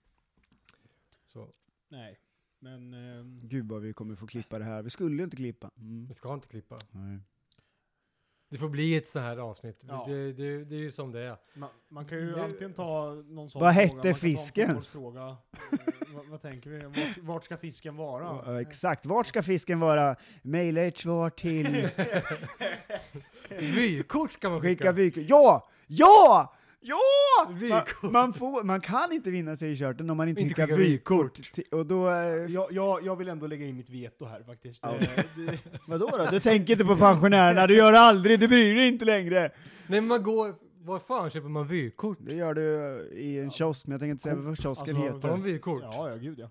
B: så.
D: Nej, men... ehm,
C: Gud vad vi kommer få klippa det här. Vi skulle ju inte klippa. Mm.
B: Vi ska inte klippa.
C: Nej.
B: Det får bli ett så här avsnitt.
D: Ja.
B: Det, det, det är ju som det är.
D: Man, man kan ju
B: Det-
D: antingen ta någon sån
C: Vad
D: fråga,
C: hette
D: man kan ta en
C: fisken?
D: fotbollsfråga. Eh, vad, vad tänker vi? Vart, vart ska fisken vara?
C: Ja, exakt. Vart ska fisken vara? Maila ett svar till...
B: Vykort ska man skicka.
C: Skicka vykort. Ja! Ja! Ja!
B: Vykort.
C: Man, man, får, man kan inte vinna t-shirten om man inte,
B: Inte
C: skickar
B: skicka
C: vykort. Ti- Och då...
D: Eh,
C: eh,
D: Jag, jag, jag vill ändå lägga in mitt veto här faktiskt.
C: Ja.
D: Eh, det-
C: Vadå då? Du tänker inte på pensionärerna, du gör det aldrig, du bryr dig inte längre.
B: Nej, men man går... Var fan köper man vykort?
C: Det gör du eh, i en kiosk, men jag tänker inte säga vad kiosken
D: Alltså,
B: Tar
C: heter.
B: man vykort?
D: ja, ja, gud ja.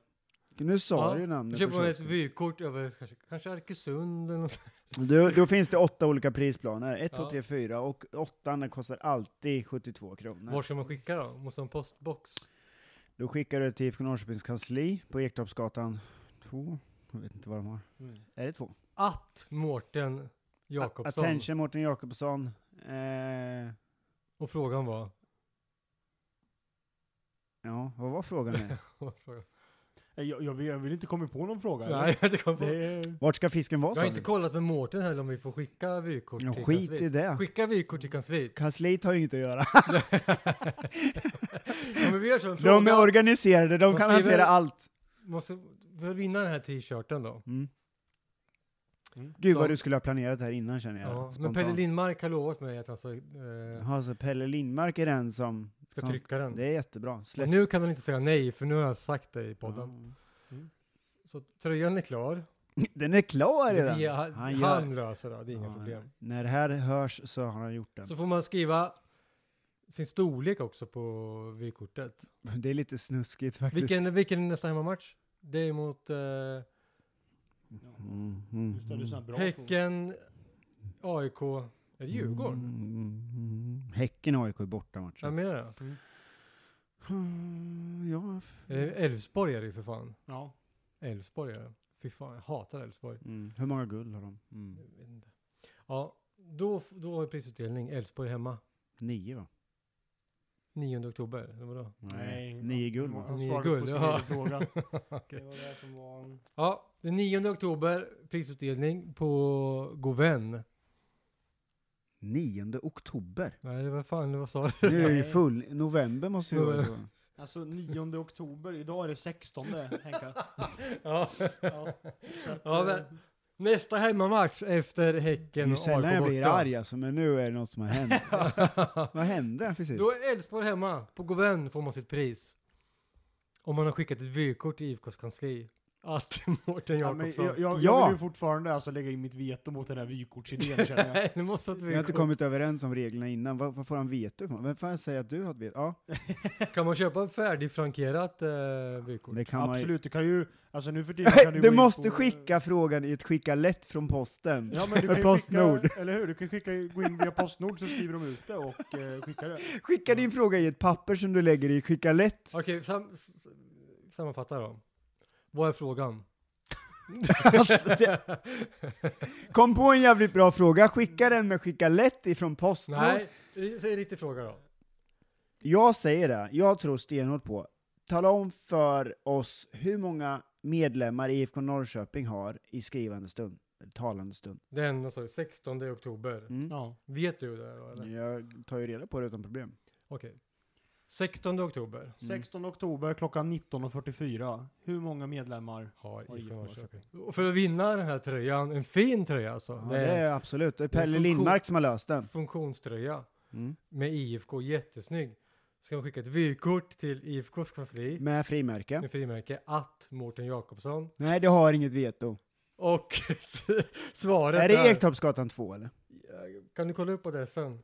C: Nu sa
B: Ja,
C: du ju
B: Då
C: namnet
B: köper
C: på
B: man ett
C: kiosken.
B: vykort över kanske, kanske Arkesund eller något sånt.
C: Du, Då finns det åtta olika prisplaner, 1, 2,
B: Ja.
C: 3, 4 och åttan den kostar alltid 72 kronor.
B: Var ska man skicka då? Måste ha en postbox?
C: Då skickar du till IFK Norrköpings kansli på Ektorpsgatan 2. Jag vet inte vad de har.
D: Mm.
C: Är det två?
B: Att Mårten Jakobsson.
C: Attention Mårten Jakobsson. Eh,
B: Och frågan var...
C: ja, vad var frågan nu?
B: vad var frågan?
D: Eh, Jag, jag, vill, jag vill inte komma på någon fråga. eller?
B: Nej, det kom på.
D: Det är,
C: Vart ska fisken vara
B: Jag har
C: sa
B: inte
C: du?
B: kollat med Mårten heller om vi får skicka vykort
C: Ja,
B: till
C: skit i
B: kansliet.
C: det.
B: Skicka vykort till kansliet.
C: Kansliet har ju inte att göra.
B: Ja, men vi gör så. En
C: De är
B: fråga.
C: organiserade, de
B: Vad
C: kan
B: skriver-
C: hantera allt.
B: Måste vi vinna den här t-shirten då.
C: Mm.
D: Mm.
C: Gud
B: Så-
C: vad du skulle ha planerat här innan känner jag.
B: Ja, men
C: spontant.
B: Pelle Lindmark har lovat mig att han ska, eh,
C: Jaha, så Pelle Lindmark är den som...
B: ska
C: som
B: trycka den.
C: det är jättebra.
B: Och
C: Släpp
B: nu kan han inte säga nej, för nu har jag sagt det i podden. Så tröjan är klar.
C: Ja. Den är klar
B: Det
C: redan.
B: vi, han,
C: Han
B: han,
C: gör-
B: löser det, det är inga problem.
C: När det här hörs så har han gjort den.
B: Så får man skriva sin storlek också på vykortet.
C: Det är lite snuskigt faktiskt.
B: Vilken, vilken är nästa hemmamatch? Det är mot eh,
C: Mm, mm,
D: Just det, det är såna här bra frågor.
B: Häcken, AIK, är det Djurgården?
C: Mm, mm. Häcken och AIK är bortamatch.
B: Jag menar det.
C: Mm, Ja. f-
B: Är det Eh, Elfsborg är det ju för fan.
D: Ja.
B: Elfsborg är det. Fy fan, jag hatar Elfsborg.
C: Mm. Hur många guld har de? Mm.
B: Jag vet inte. Ja, då, f- då har vi prisutdelning. Elfsborg hemma.
C: Nio va?
B: 9 oktober, eller vadå?
C: Nio guld va?
D: Han
B: Nio
D: svarade
B: guld,
D: på sin
B: ja.
D: egen fråga.
B: Okej.
D: Det var det som var...
B: Ja, den 9 oktober, prisutdelning på Goven.
C: Nionde oktober.
B: Nej, det var fan, vad sa du?
C: Nu är det ju full. November måste ju vara så.
D: Alltså 9 oktober, idag är det 16 Henka.
B: Ja.
D: Ja, så att,
B: Ja,
D: eh,
B: men- Nästa hemmamatch efter
C: Det är
B: Häcken
C: ju
B: och
C: sällan
B: AIK
C: jag blir
B: borta.
C: arg alltså, men nu är det något som har hänt. Vad hände precis?
B: Då är Elfsborg hemma. På Goven får man sitt pris. Om man har skickat ett vykort till IFKs kansli. Att Mårten
D: Ja, men
B: Jakobsson.
D: jag, jag,
C: Ja.
D: jag vill ju fortfarande alltså lägga in mitt veto mot den här vykortsidén känner jag.
B: Nej, nu måste ha ett
C: Vi har inte
B: vykort.
C: kommit överens om reglerna innan. Vad, vad får han veto ifrån? Vem fan säger att du har ett veto? Ja,
B: Kan man köpa färdigfrankerat eh, vykort?
C: det kan man ju.
D: Absolut, du kan ju, alltså nu för tiden kan du
C: Du
D: gå in
C: måste
D: på,
C: skicka frågan i ett skicka lätt från posten.
D: Ja men du kan ju
C: Postnord.
D: skicka, eller hur? Du kan skicka, gå in via Postnord så skriver de ut det och eh, skickar det.
C: Skicka
B: Mm.
C: din fråga i ett papper som du lägger i skicka lätt.
B: Okej, sam, s- s- sammanfatta då. Vad är frågan?
C: Alltså, det- Kom på en jävligt bra fråga, skicka den med skicka lätt ifrån Postnord.
B: Nej, säg en riktig fråga då.
C: Jag säger det, jag tror stenhårt på. Tala om för oss hur många medlemmar IFK Norrköping har i skrivande stund, eller talande stund.
B: Den alltså, 16 oktober.
C: Mm.
D: Ja.
B: Vet du det då, eller?
C: Jag tar ju reda på det utan problem.
B: Okej. 16 oktober
D: 16 oktober klockan 19.44. Hur många medlemmar?
B: har
D: Oj,
B: IFK
D: fan,
B: Norrköping. Och för att vinna den här tröjan, en fin tröja alltså.
C: Ja,
B: det
C: det
B: är
C: är absolut, det är
B: det är
C: Pelle
B: funktion-
C: Lindmark som har löst
B: en
C: den.
B: funktionströja
C: Mm.
B: med IFK, jättesnygg. Ska man skicka ett vykort till IFKs kansli
C: Med frimärke.
B: med frimärke att Mårten Jakobsson
C: Nej, det har inget veto.
B: och svaret
C: är det
B: är-
C: Ektorpsgatan 2 eller?
B: Kan du kolla upp adressen?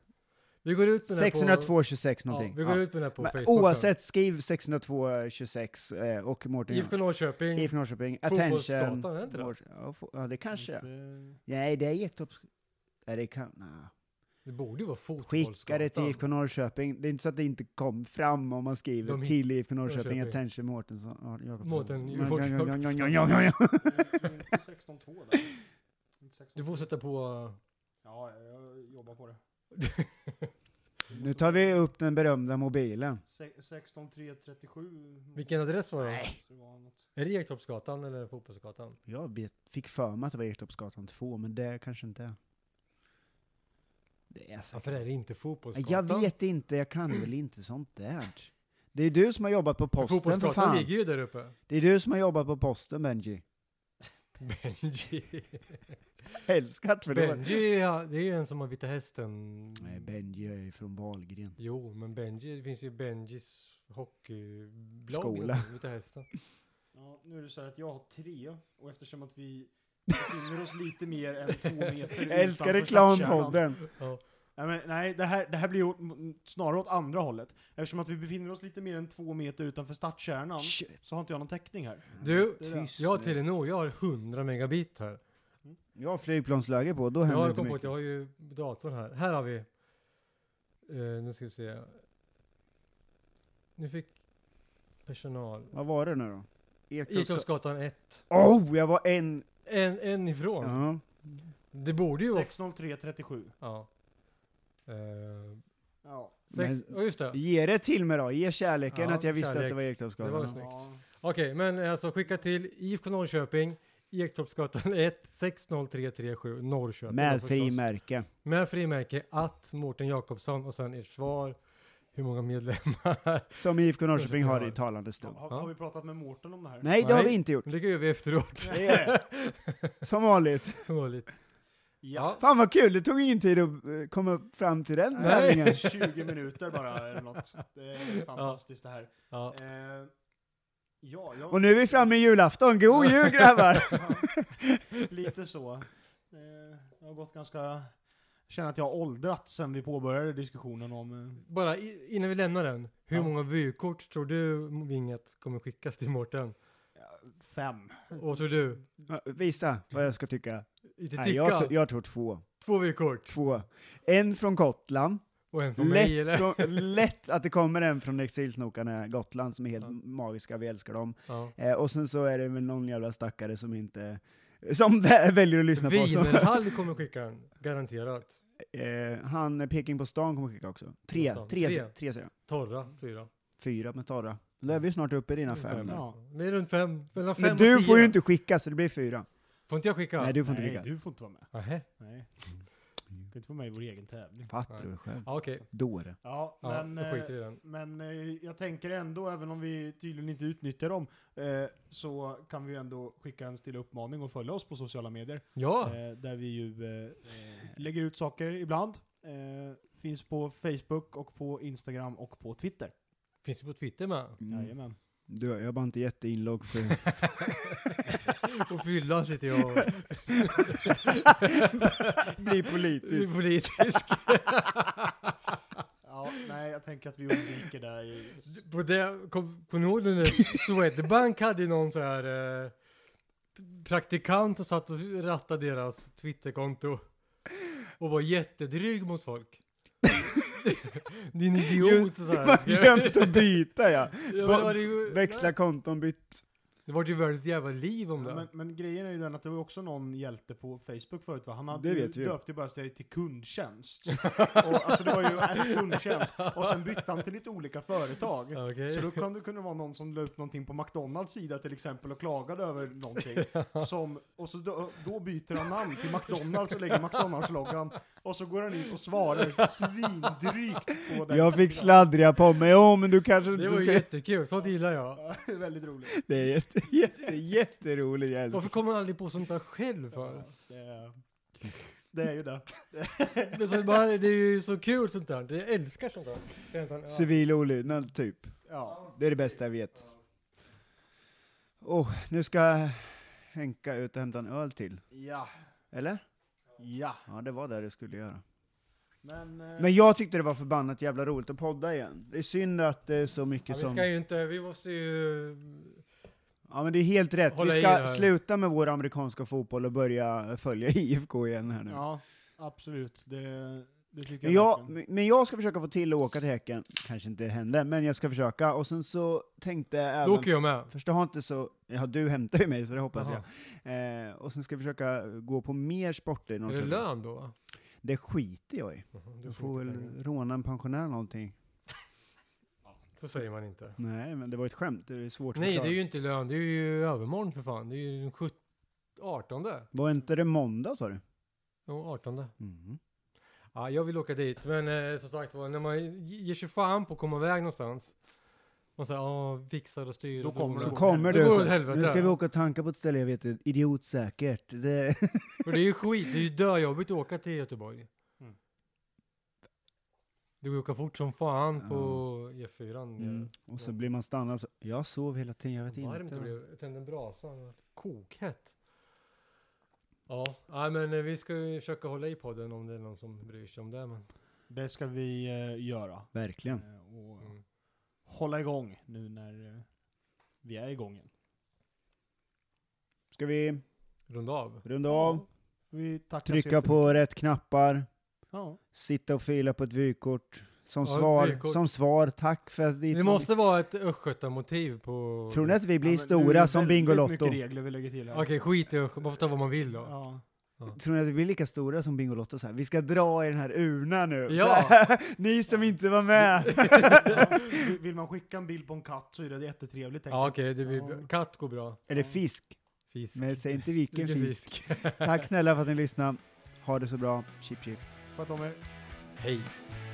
B: Vi går ut med den här på-
C: 602 26 någonting.
B: Ja, vi går ut med den här på
C: Men
B: Facebook.
C: oavsett, skriv 602 26 eh, och Mårten
B: IFK Norrköping.
C: IFK Norrköping,
B: Fotbollsgatan,
C: attention.
B: är det inte det?
C: Mårt- ja, fo- Ja, det kanske
D: Inte-
C: är. Nej, det är Ektorps... Nej, det kan... Nej.
B: Det borde ju vara fotbollsgatan.
C: Skicka det till IFK Norrköping. Det är inte så att det inte kom fram om man skriver
B: De-
C: till IFK Norrköping,
B: Norrköping.
C: attention Mårtensson. ja, Jakobsson.
B: Mårten
C: Ja,
B: Jakobsson.
C: ja, ja, ja, ja, ja, ja, ja.
D: Det är inte 16.2 där. Inte 16.
B: Du får sätta på...
D: Ja, jag jobbar på det.
C: Nu tar vi upp den berömda mobilen.
D: Se- 16.337.
B: Vilken adress var det?
D: Nej. Det var något.
B: Är det Ektorpsgatan eller Fotbollsgatan?
C: Jag vet, fick för mig att det var Ektorpsgatan 2, men det kanske inte är. Det är säkert.
B: Varför är det inte
C: Nej,
B: Fotbollsgatan?
C: Jag vet inte, jag kan
B: Mm.
C: väl inte sånt där. Det är du som har jobbat på posten för
B: Fotbollsgatan
C: fan.
B: ligger ju där uppe.
C: Det är du som har jobbat på posten Benji.
B: Benji.
C: Älskat för det.
B: Benji, ja, det är ju en som har Vita Hästen.
C: Nej, Benji är ju från Wahlgren.
B: Jo, men Benji, det finns ju Benjis hockeyblogg.
C: Skola.
B: Vita Hästen.
D: Ja, nu är det så här att jag har tre och eftersom att vi befinner oss lite mer än två meter
C: Jag älskar
D: utanför stadskärnan-
C: reklampodden.
B: Ja.
D: Nej, men, nej det, här, det här blir ju m- snarare åt andra hållet. Eftersom att vi befinner oss lite mer än två meter utanför stadskärnan
C: Shit.
D: så har inte jag någon täckning här.
B: Du,
D: Det där.
C: Tyst
B: jag har
C: nu.
B: Telenor, jag har 100 megabit här.
C: Jag har flygplansläge på, då
B: Jag
C: händer
B: har
C: inte
B: kommit på att jag
C: mycket.
B: har ju datorn här. Här har vi. Eh, nu ska vi se. Nu fick personal.
C: Vad var det nu då? Ektorpsgatan.
B: Ektorpsgatan 1.
C: Oh, jag var en...
B: En, en ifrån.
C: Ja.
B: Det borde ju vara.
D: 60337.
B: Ja. Eh,
D: Ja.
B: sex,
C: Men-
B: ja, just det.
C: Ge det till mig då, ge kärleken
B: Ja,
C: att jag visste att det
B: kärlek.
C: var
B: Det var
C: Ektorpsgatan.
B: snyggt.
D: ja.
B: Okej, men alltså skicka till IFK Norrköping, Ektorpsgatan 1, 60337 Norrköping. då
C: Med
B: förstås.
C: frimärke.
B: Med frimärke att Mårten Jakobsson och sen ert svar. Hur många medlemmar?
C: Som IFK Norrköping
B: Norrköping
C: har
B: har.
C: i talande stund.
D: Har,
B: Ja.
D: har vi pratat med Mårten om det här?
C: Nej, det har vi
B: Nej.
C: inte gjort.
B: Det gör vi efteråt.
C: Det är som vanligt.
B: Dåligt.
D: Ja.
C: Fan vad kul, det tog ingen tid att eh, komma fram till den
B: Nej.
C: tävlingen.
D: 20 minuter bara eller något. Det är fantastiskt det här.
B: Ja.
D: Eh, ja, jag,
C: Och nu är vi framme i julafton. God jul grabbar!
D: lite så. Eh, jag har gått ganska... jag känner att jag har åldrats sen vi påbörjade diskussionen om... Eh,
B: Bara i- innan vi lämnar den. Hur
D: Ja.
B: många vykort tror du Vinget kommer skickas till Mårten?
D: fem.
B: Och tror du?
C: Visa vad jag ska tycka.
B: Inte
C: Nej,
B: Ticka?
C: jag, tro- jag tror två.
B: Två vykort.
C: Två. En från Gotland.
B: Och en från mig
C: Lätt,
B: eller?
C: från, lätt att det kommer en från exilsnokarna Gotland som är helt
B: Ja.
C: magiska, vi älskar dem.
B: Ja.
C: Eh, och sen så är det väl någon jävla stackare som inte som vä- väljer att lyssna på oss.
B: Wienerhall kommer skicka en, garanterat.
C: Eh, han Peking på stan kommer skicka också. Tre,
B: På stan.
C: tre,
B: Tre.
C: tre, tre säger jag.
B: Torra, fyra.
C: Fyra med torra. Då är vi snart uppe i dina fem. där.
D: Ja.
B: Vi är runt fem, mellan fem
C: Men
B: och
C: du
B: tio.
C: får ju inte skicka, så det blir fyra.
B: Får inte jag skicka?
C: Nej, du får inte
D: Nej,
C: skicka.
D: du får inte vara med.
B: Nähä.
D: Nej. Du kan inte vara med i vår egen tävling.
C: Fattar du själv?
B: Ja, okej.
C: Dåre.
D: Ja,
B: Ja,
D: men...
B: då
D: eh,
B: skiter vi i den.
D: Men eh, jag tänker ändå, även om vi tydligen inte utnyttjar dem, eh, så kan vi ju ändå skicka en stilla uppmaning och följa oss på sociala medier.
B: Ja,
D: Eh, där vi ju eh, eh, lägger ut saker ibland. Eh, finns på Facebook och på Instagram och på Twitter.
B: finns det på Twitter med.
C: Mm.
D: Jajamän.
C: Du, jag är bara inte jätteinlogg för...
B: Och fylla sitter jag och
C: Bli
B: är
C: politisk.
B: politisk.
D: Ja, nej, jag tänker att vi undviker det. i-
B: på det, kom, kom ni ihåg när Swedbank hade ju någon så här eh, praktikant som satt och rattade deras Twitterkonto och var jättedryg mot folk. Din idiot
C: Just
B: och så här.
C: Man har glömt att byta ja.
B: Ja, men det var ju-
C: Växla konton, bytt.
B: Det var ju världens jävla liv om det.
D: Ja, men, men grejen är ju den att det var också någon hjälte på Facebook förut va? Han hade
C: Det
D: ju
C: vet vi ju.
D: döpt ju bara sig till kundtjänst. och, alltså det var ju en kundtjänst. Och sen bytte han till lite olika företag.
B: Okej.
D: Så då kunde, kunde det vara någon som la upp någonting på McDonalds sida till exempel och klagade över någonting. Som, och så då, då byter han namn till McDonalds och lägger McDonalds-loggan. Och så går han in och svarar svindrygt på den.
C: Jag fick sladdriga på mig. Åh, men du kanske
B: Det
C: inte
B: var ju
C: ska...
B: jättekul, sånt gillar jag.
D: Ja, det är väldigt roligt.
C: Det är jätte, jätte, jätteroligt. jag älskar.
B: Varför kommer man aldrig på sånt där själv för?
D: Ja, det, är, det är ju det.
B: Det är, så, bara- det är ju så kul sånt där. Jag älskar sånt där. Egentligen, Ja.
C: Civil olydnad, typ.
D: Ja.
C: Det är det bästa jag vet. Oh, nu ska Henka ut och hämta en öl till.
D: Ja.
C: Eller?
D: Ja.
C: Ja, det var det du skulle göra.
D: Men, eh,
C: Men jag tyckte det var förbannat jävla roligt att podda igen. Det är synd att det är så
B: Ja,
C: mycket
B: vi
C: som...
B: ska ju inte, vi måste ju...
C: Ja men det är helt rätt.
B: Hålla
C: vi
B: i det här.
C: ska sluta med vår amerikanska fotboll och börja följa IFK igen här nu.
D: Ja, absolut. Det, det tycker
C: men,
D: jag,
C: jag,
D: verkligen.
C: men- men jag ska försöka få till att åka till Häcken. Kanske inte händer, men jag ska försöka. Och sen så tänkte jag
B: Då
C: även...
B: åker jag med.
C: Först jag har inte så... Ja, du hämtar ju mig så det hoppas
B: Jaha.
C: jag. Eh, och sen ska jag försöka gå på mer sporter i
B: Är det
C: Norrköping.
B: lön då? va?
C: Det skiter jag i.
B: Mhm,
C: Du
B: Du
C: får
B: får
C: väl
B: mycket pengar.
C: råna en pensionär eller någonting.
B: Så säger man inte.
C: Nej, men det var ett skämt. Det är svårt att
B: Nej, det
C: förklara.
B: är ju inte lön. Det är ju övermorgon för fan. Det är ju den 17, 18.
C: Var inte det måndag sa du?
B: Jo, 18.
C: Mm.
B: Ja, jag vill åka dit. Men eh, som sagt var, när man ge- ger sig fan på att komma iväg någonstans. Man säger, ja, fixar och styr.
D: Då
B: och
D: kommer
B: donar."
D: det
C: Så
D: går åt
C: kommer
B: helvete.
C: du
B: Det går
C: så,
B: åt helvete.
C: Nu ska vi åka och tanka på ett ställe jag vet är idiotsäkert. Det,
B: Och det är ju skit. Det är ju döjobbigt att åka till Göteborg.
D: Mm.
B: Det går att åka fort som fan på E E4.
C: mm. Och så blir man stannad så, jag sov hela tiden, jag vet
B: Varmt det
C: inte.
B: blev. Jag tände en brasa. Det var Kokhett. Ja, nej, men eh, vi ska ju försöka hålla i podden om det är någon som bryr sig om det. Men
D: det ska vi eh, göra.
C: Verkligen.
D: Eh, och
B: Mm.
D: hålla igång nu när eh, vi är igång igen.
C: Ska vi
B: runda av.
C: runda av,
D: Vi tackar så
C: trycka
D: jättemycket.
C: på rätt knappar,
D: Ja.
C: sitta och fila på ett vykort. Som
B: Ja,
C: svar,
B: vykort.
C: som svar, tack för att ni...
B: Det måste vara ett östgötamotiv på...
C: Tror ni att vi blir
D: Ja, men nu är
C: stora
D: det
C: som
D: väldigt
C: Bingolotto?
D: mycket regler vi lägger till här.
B: Okej, skit i Östgö- Man får ta vad man vill då.
D: Ja.
C: Tror ni att vi blir lika stora som Bingolotto så här? Vi ska dra i den här urnan nu.
B: Ja.
C: Så här, ni som inte var med.
D: Ja, vill- Vill man skicka en bild på en katt så är det jättetrevligt. tänker
B: Ja, okej. det blir
D: Ja.
B: Katt går bra.
C: Eller fisk.
B: Fisk.
C: Men säg inte vilken
B: Det blir
C: fisk. Tack snälla för att ni lyssnade. Ha det så bra. Chip chip.
D: jag. Sköt om er.
B: Hej.
C: Hej.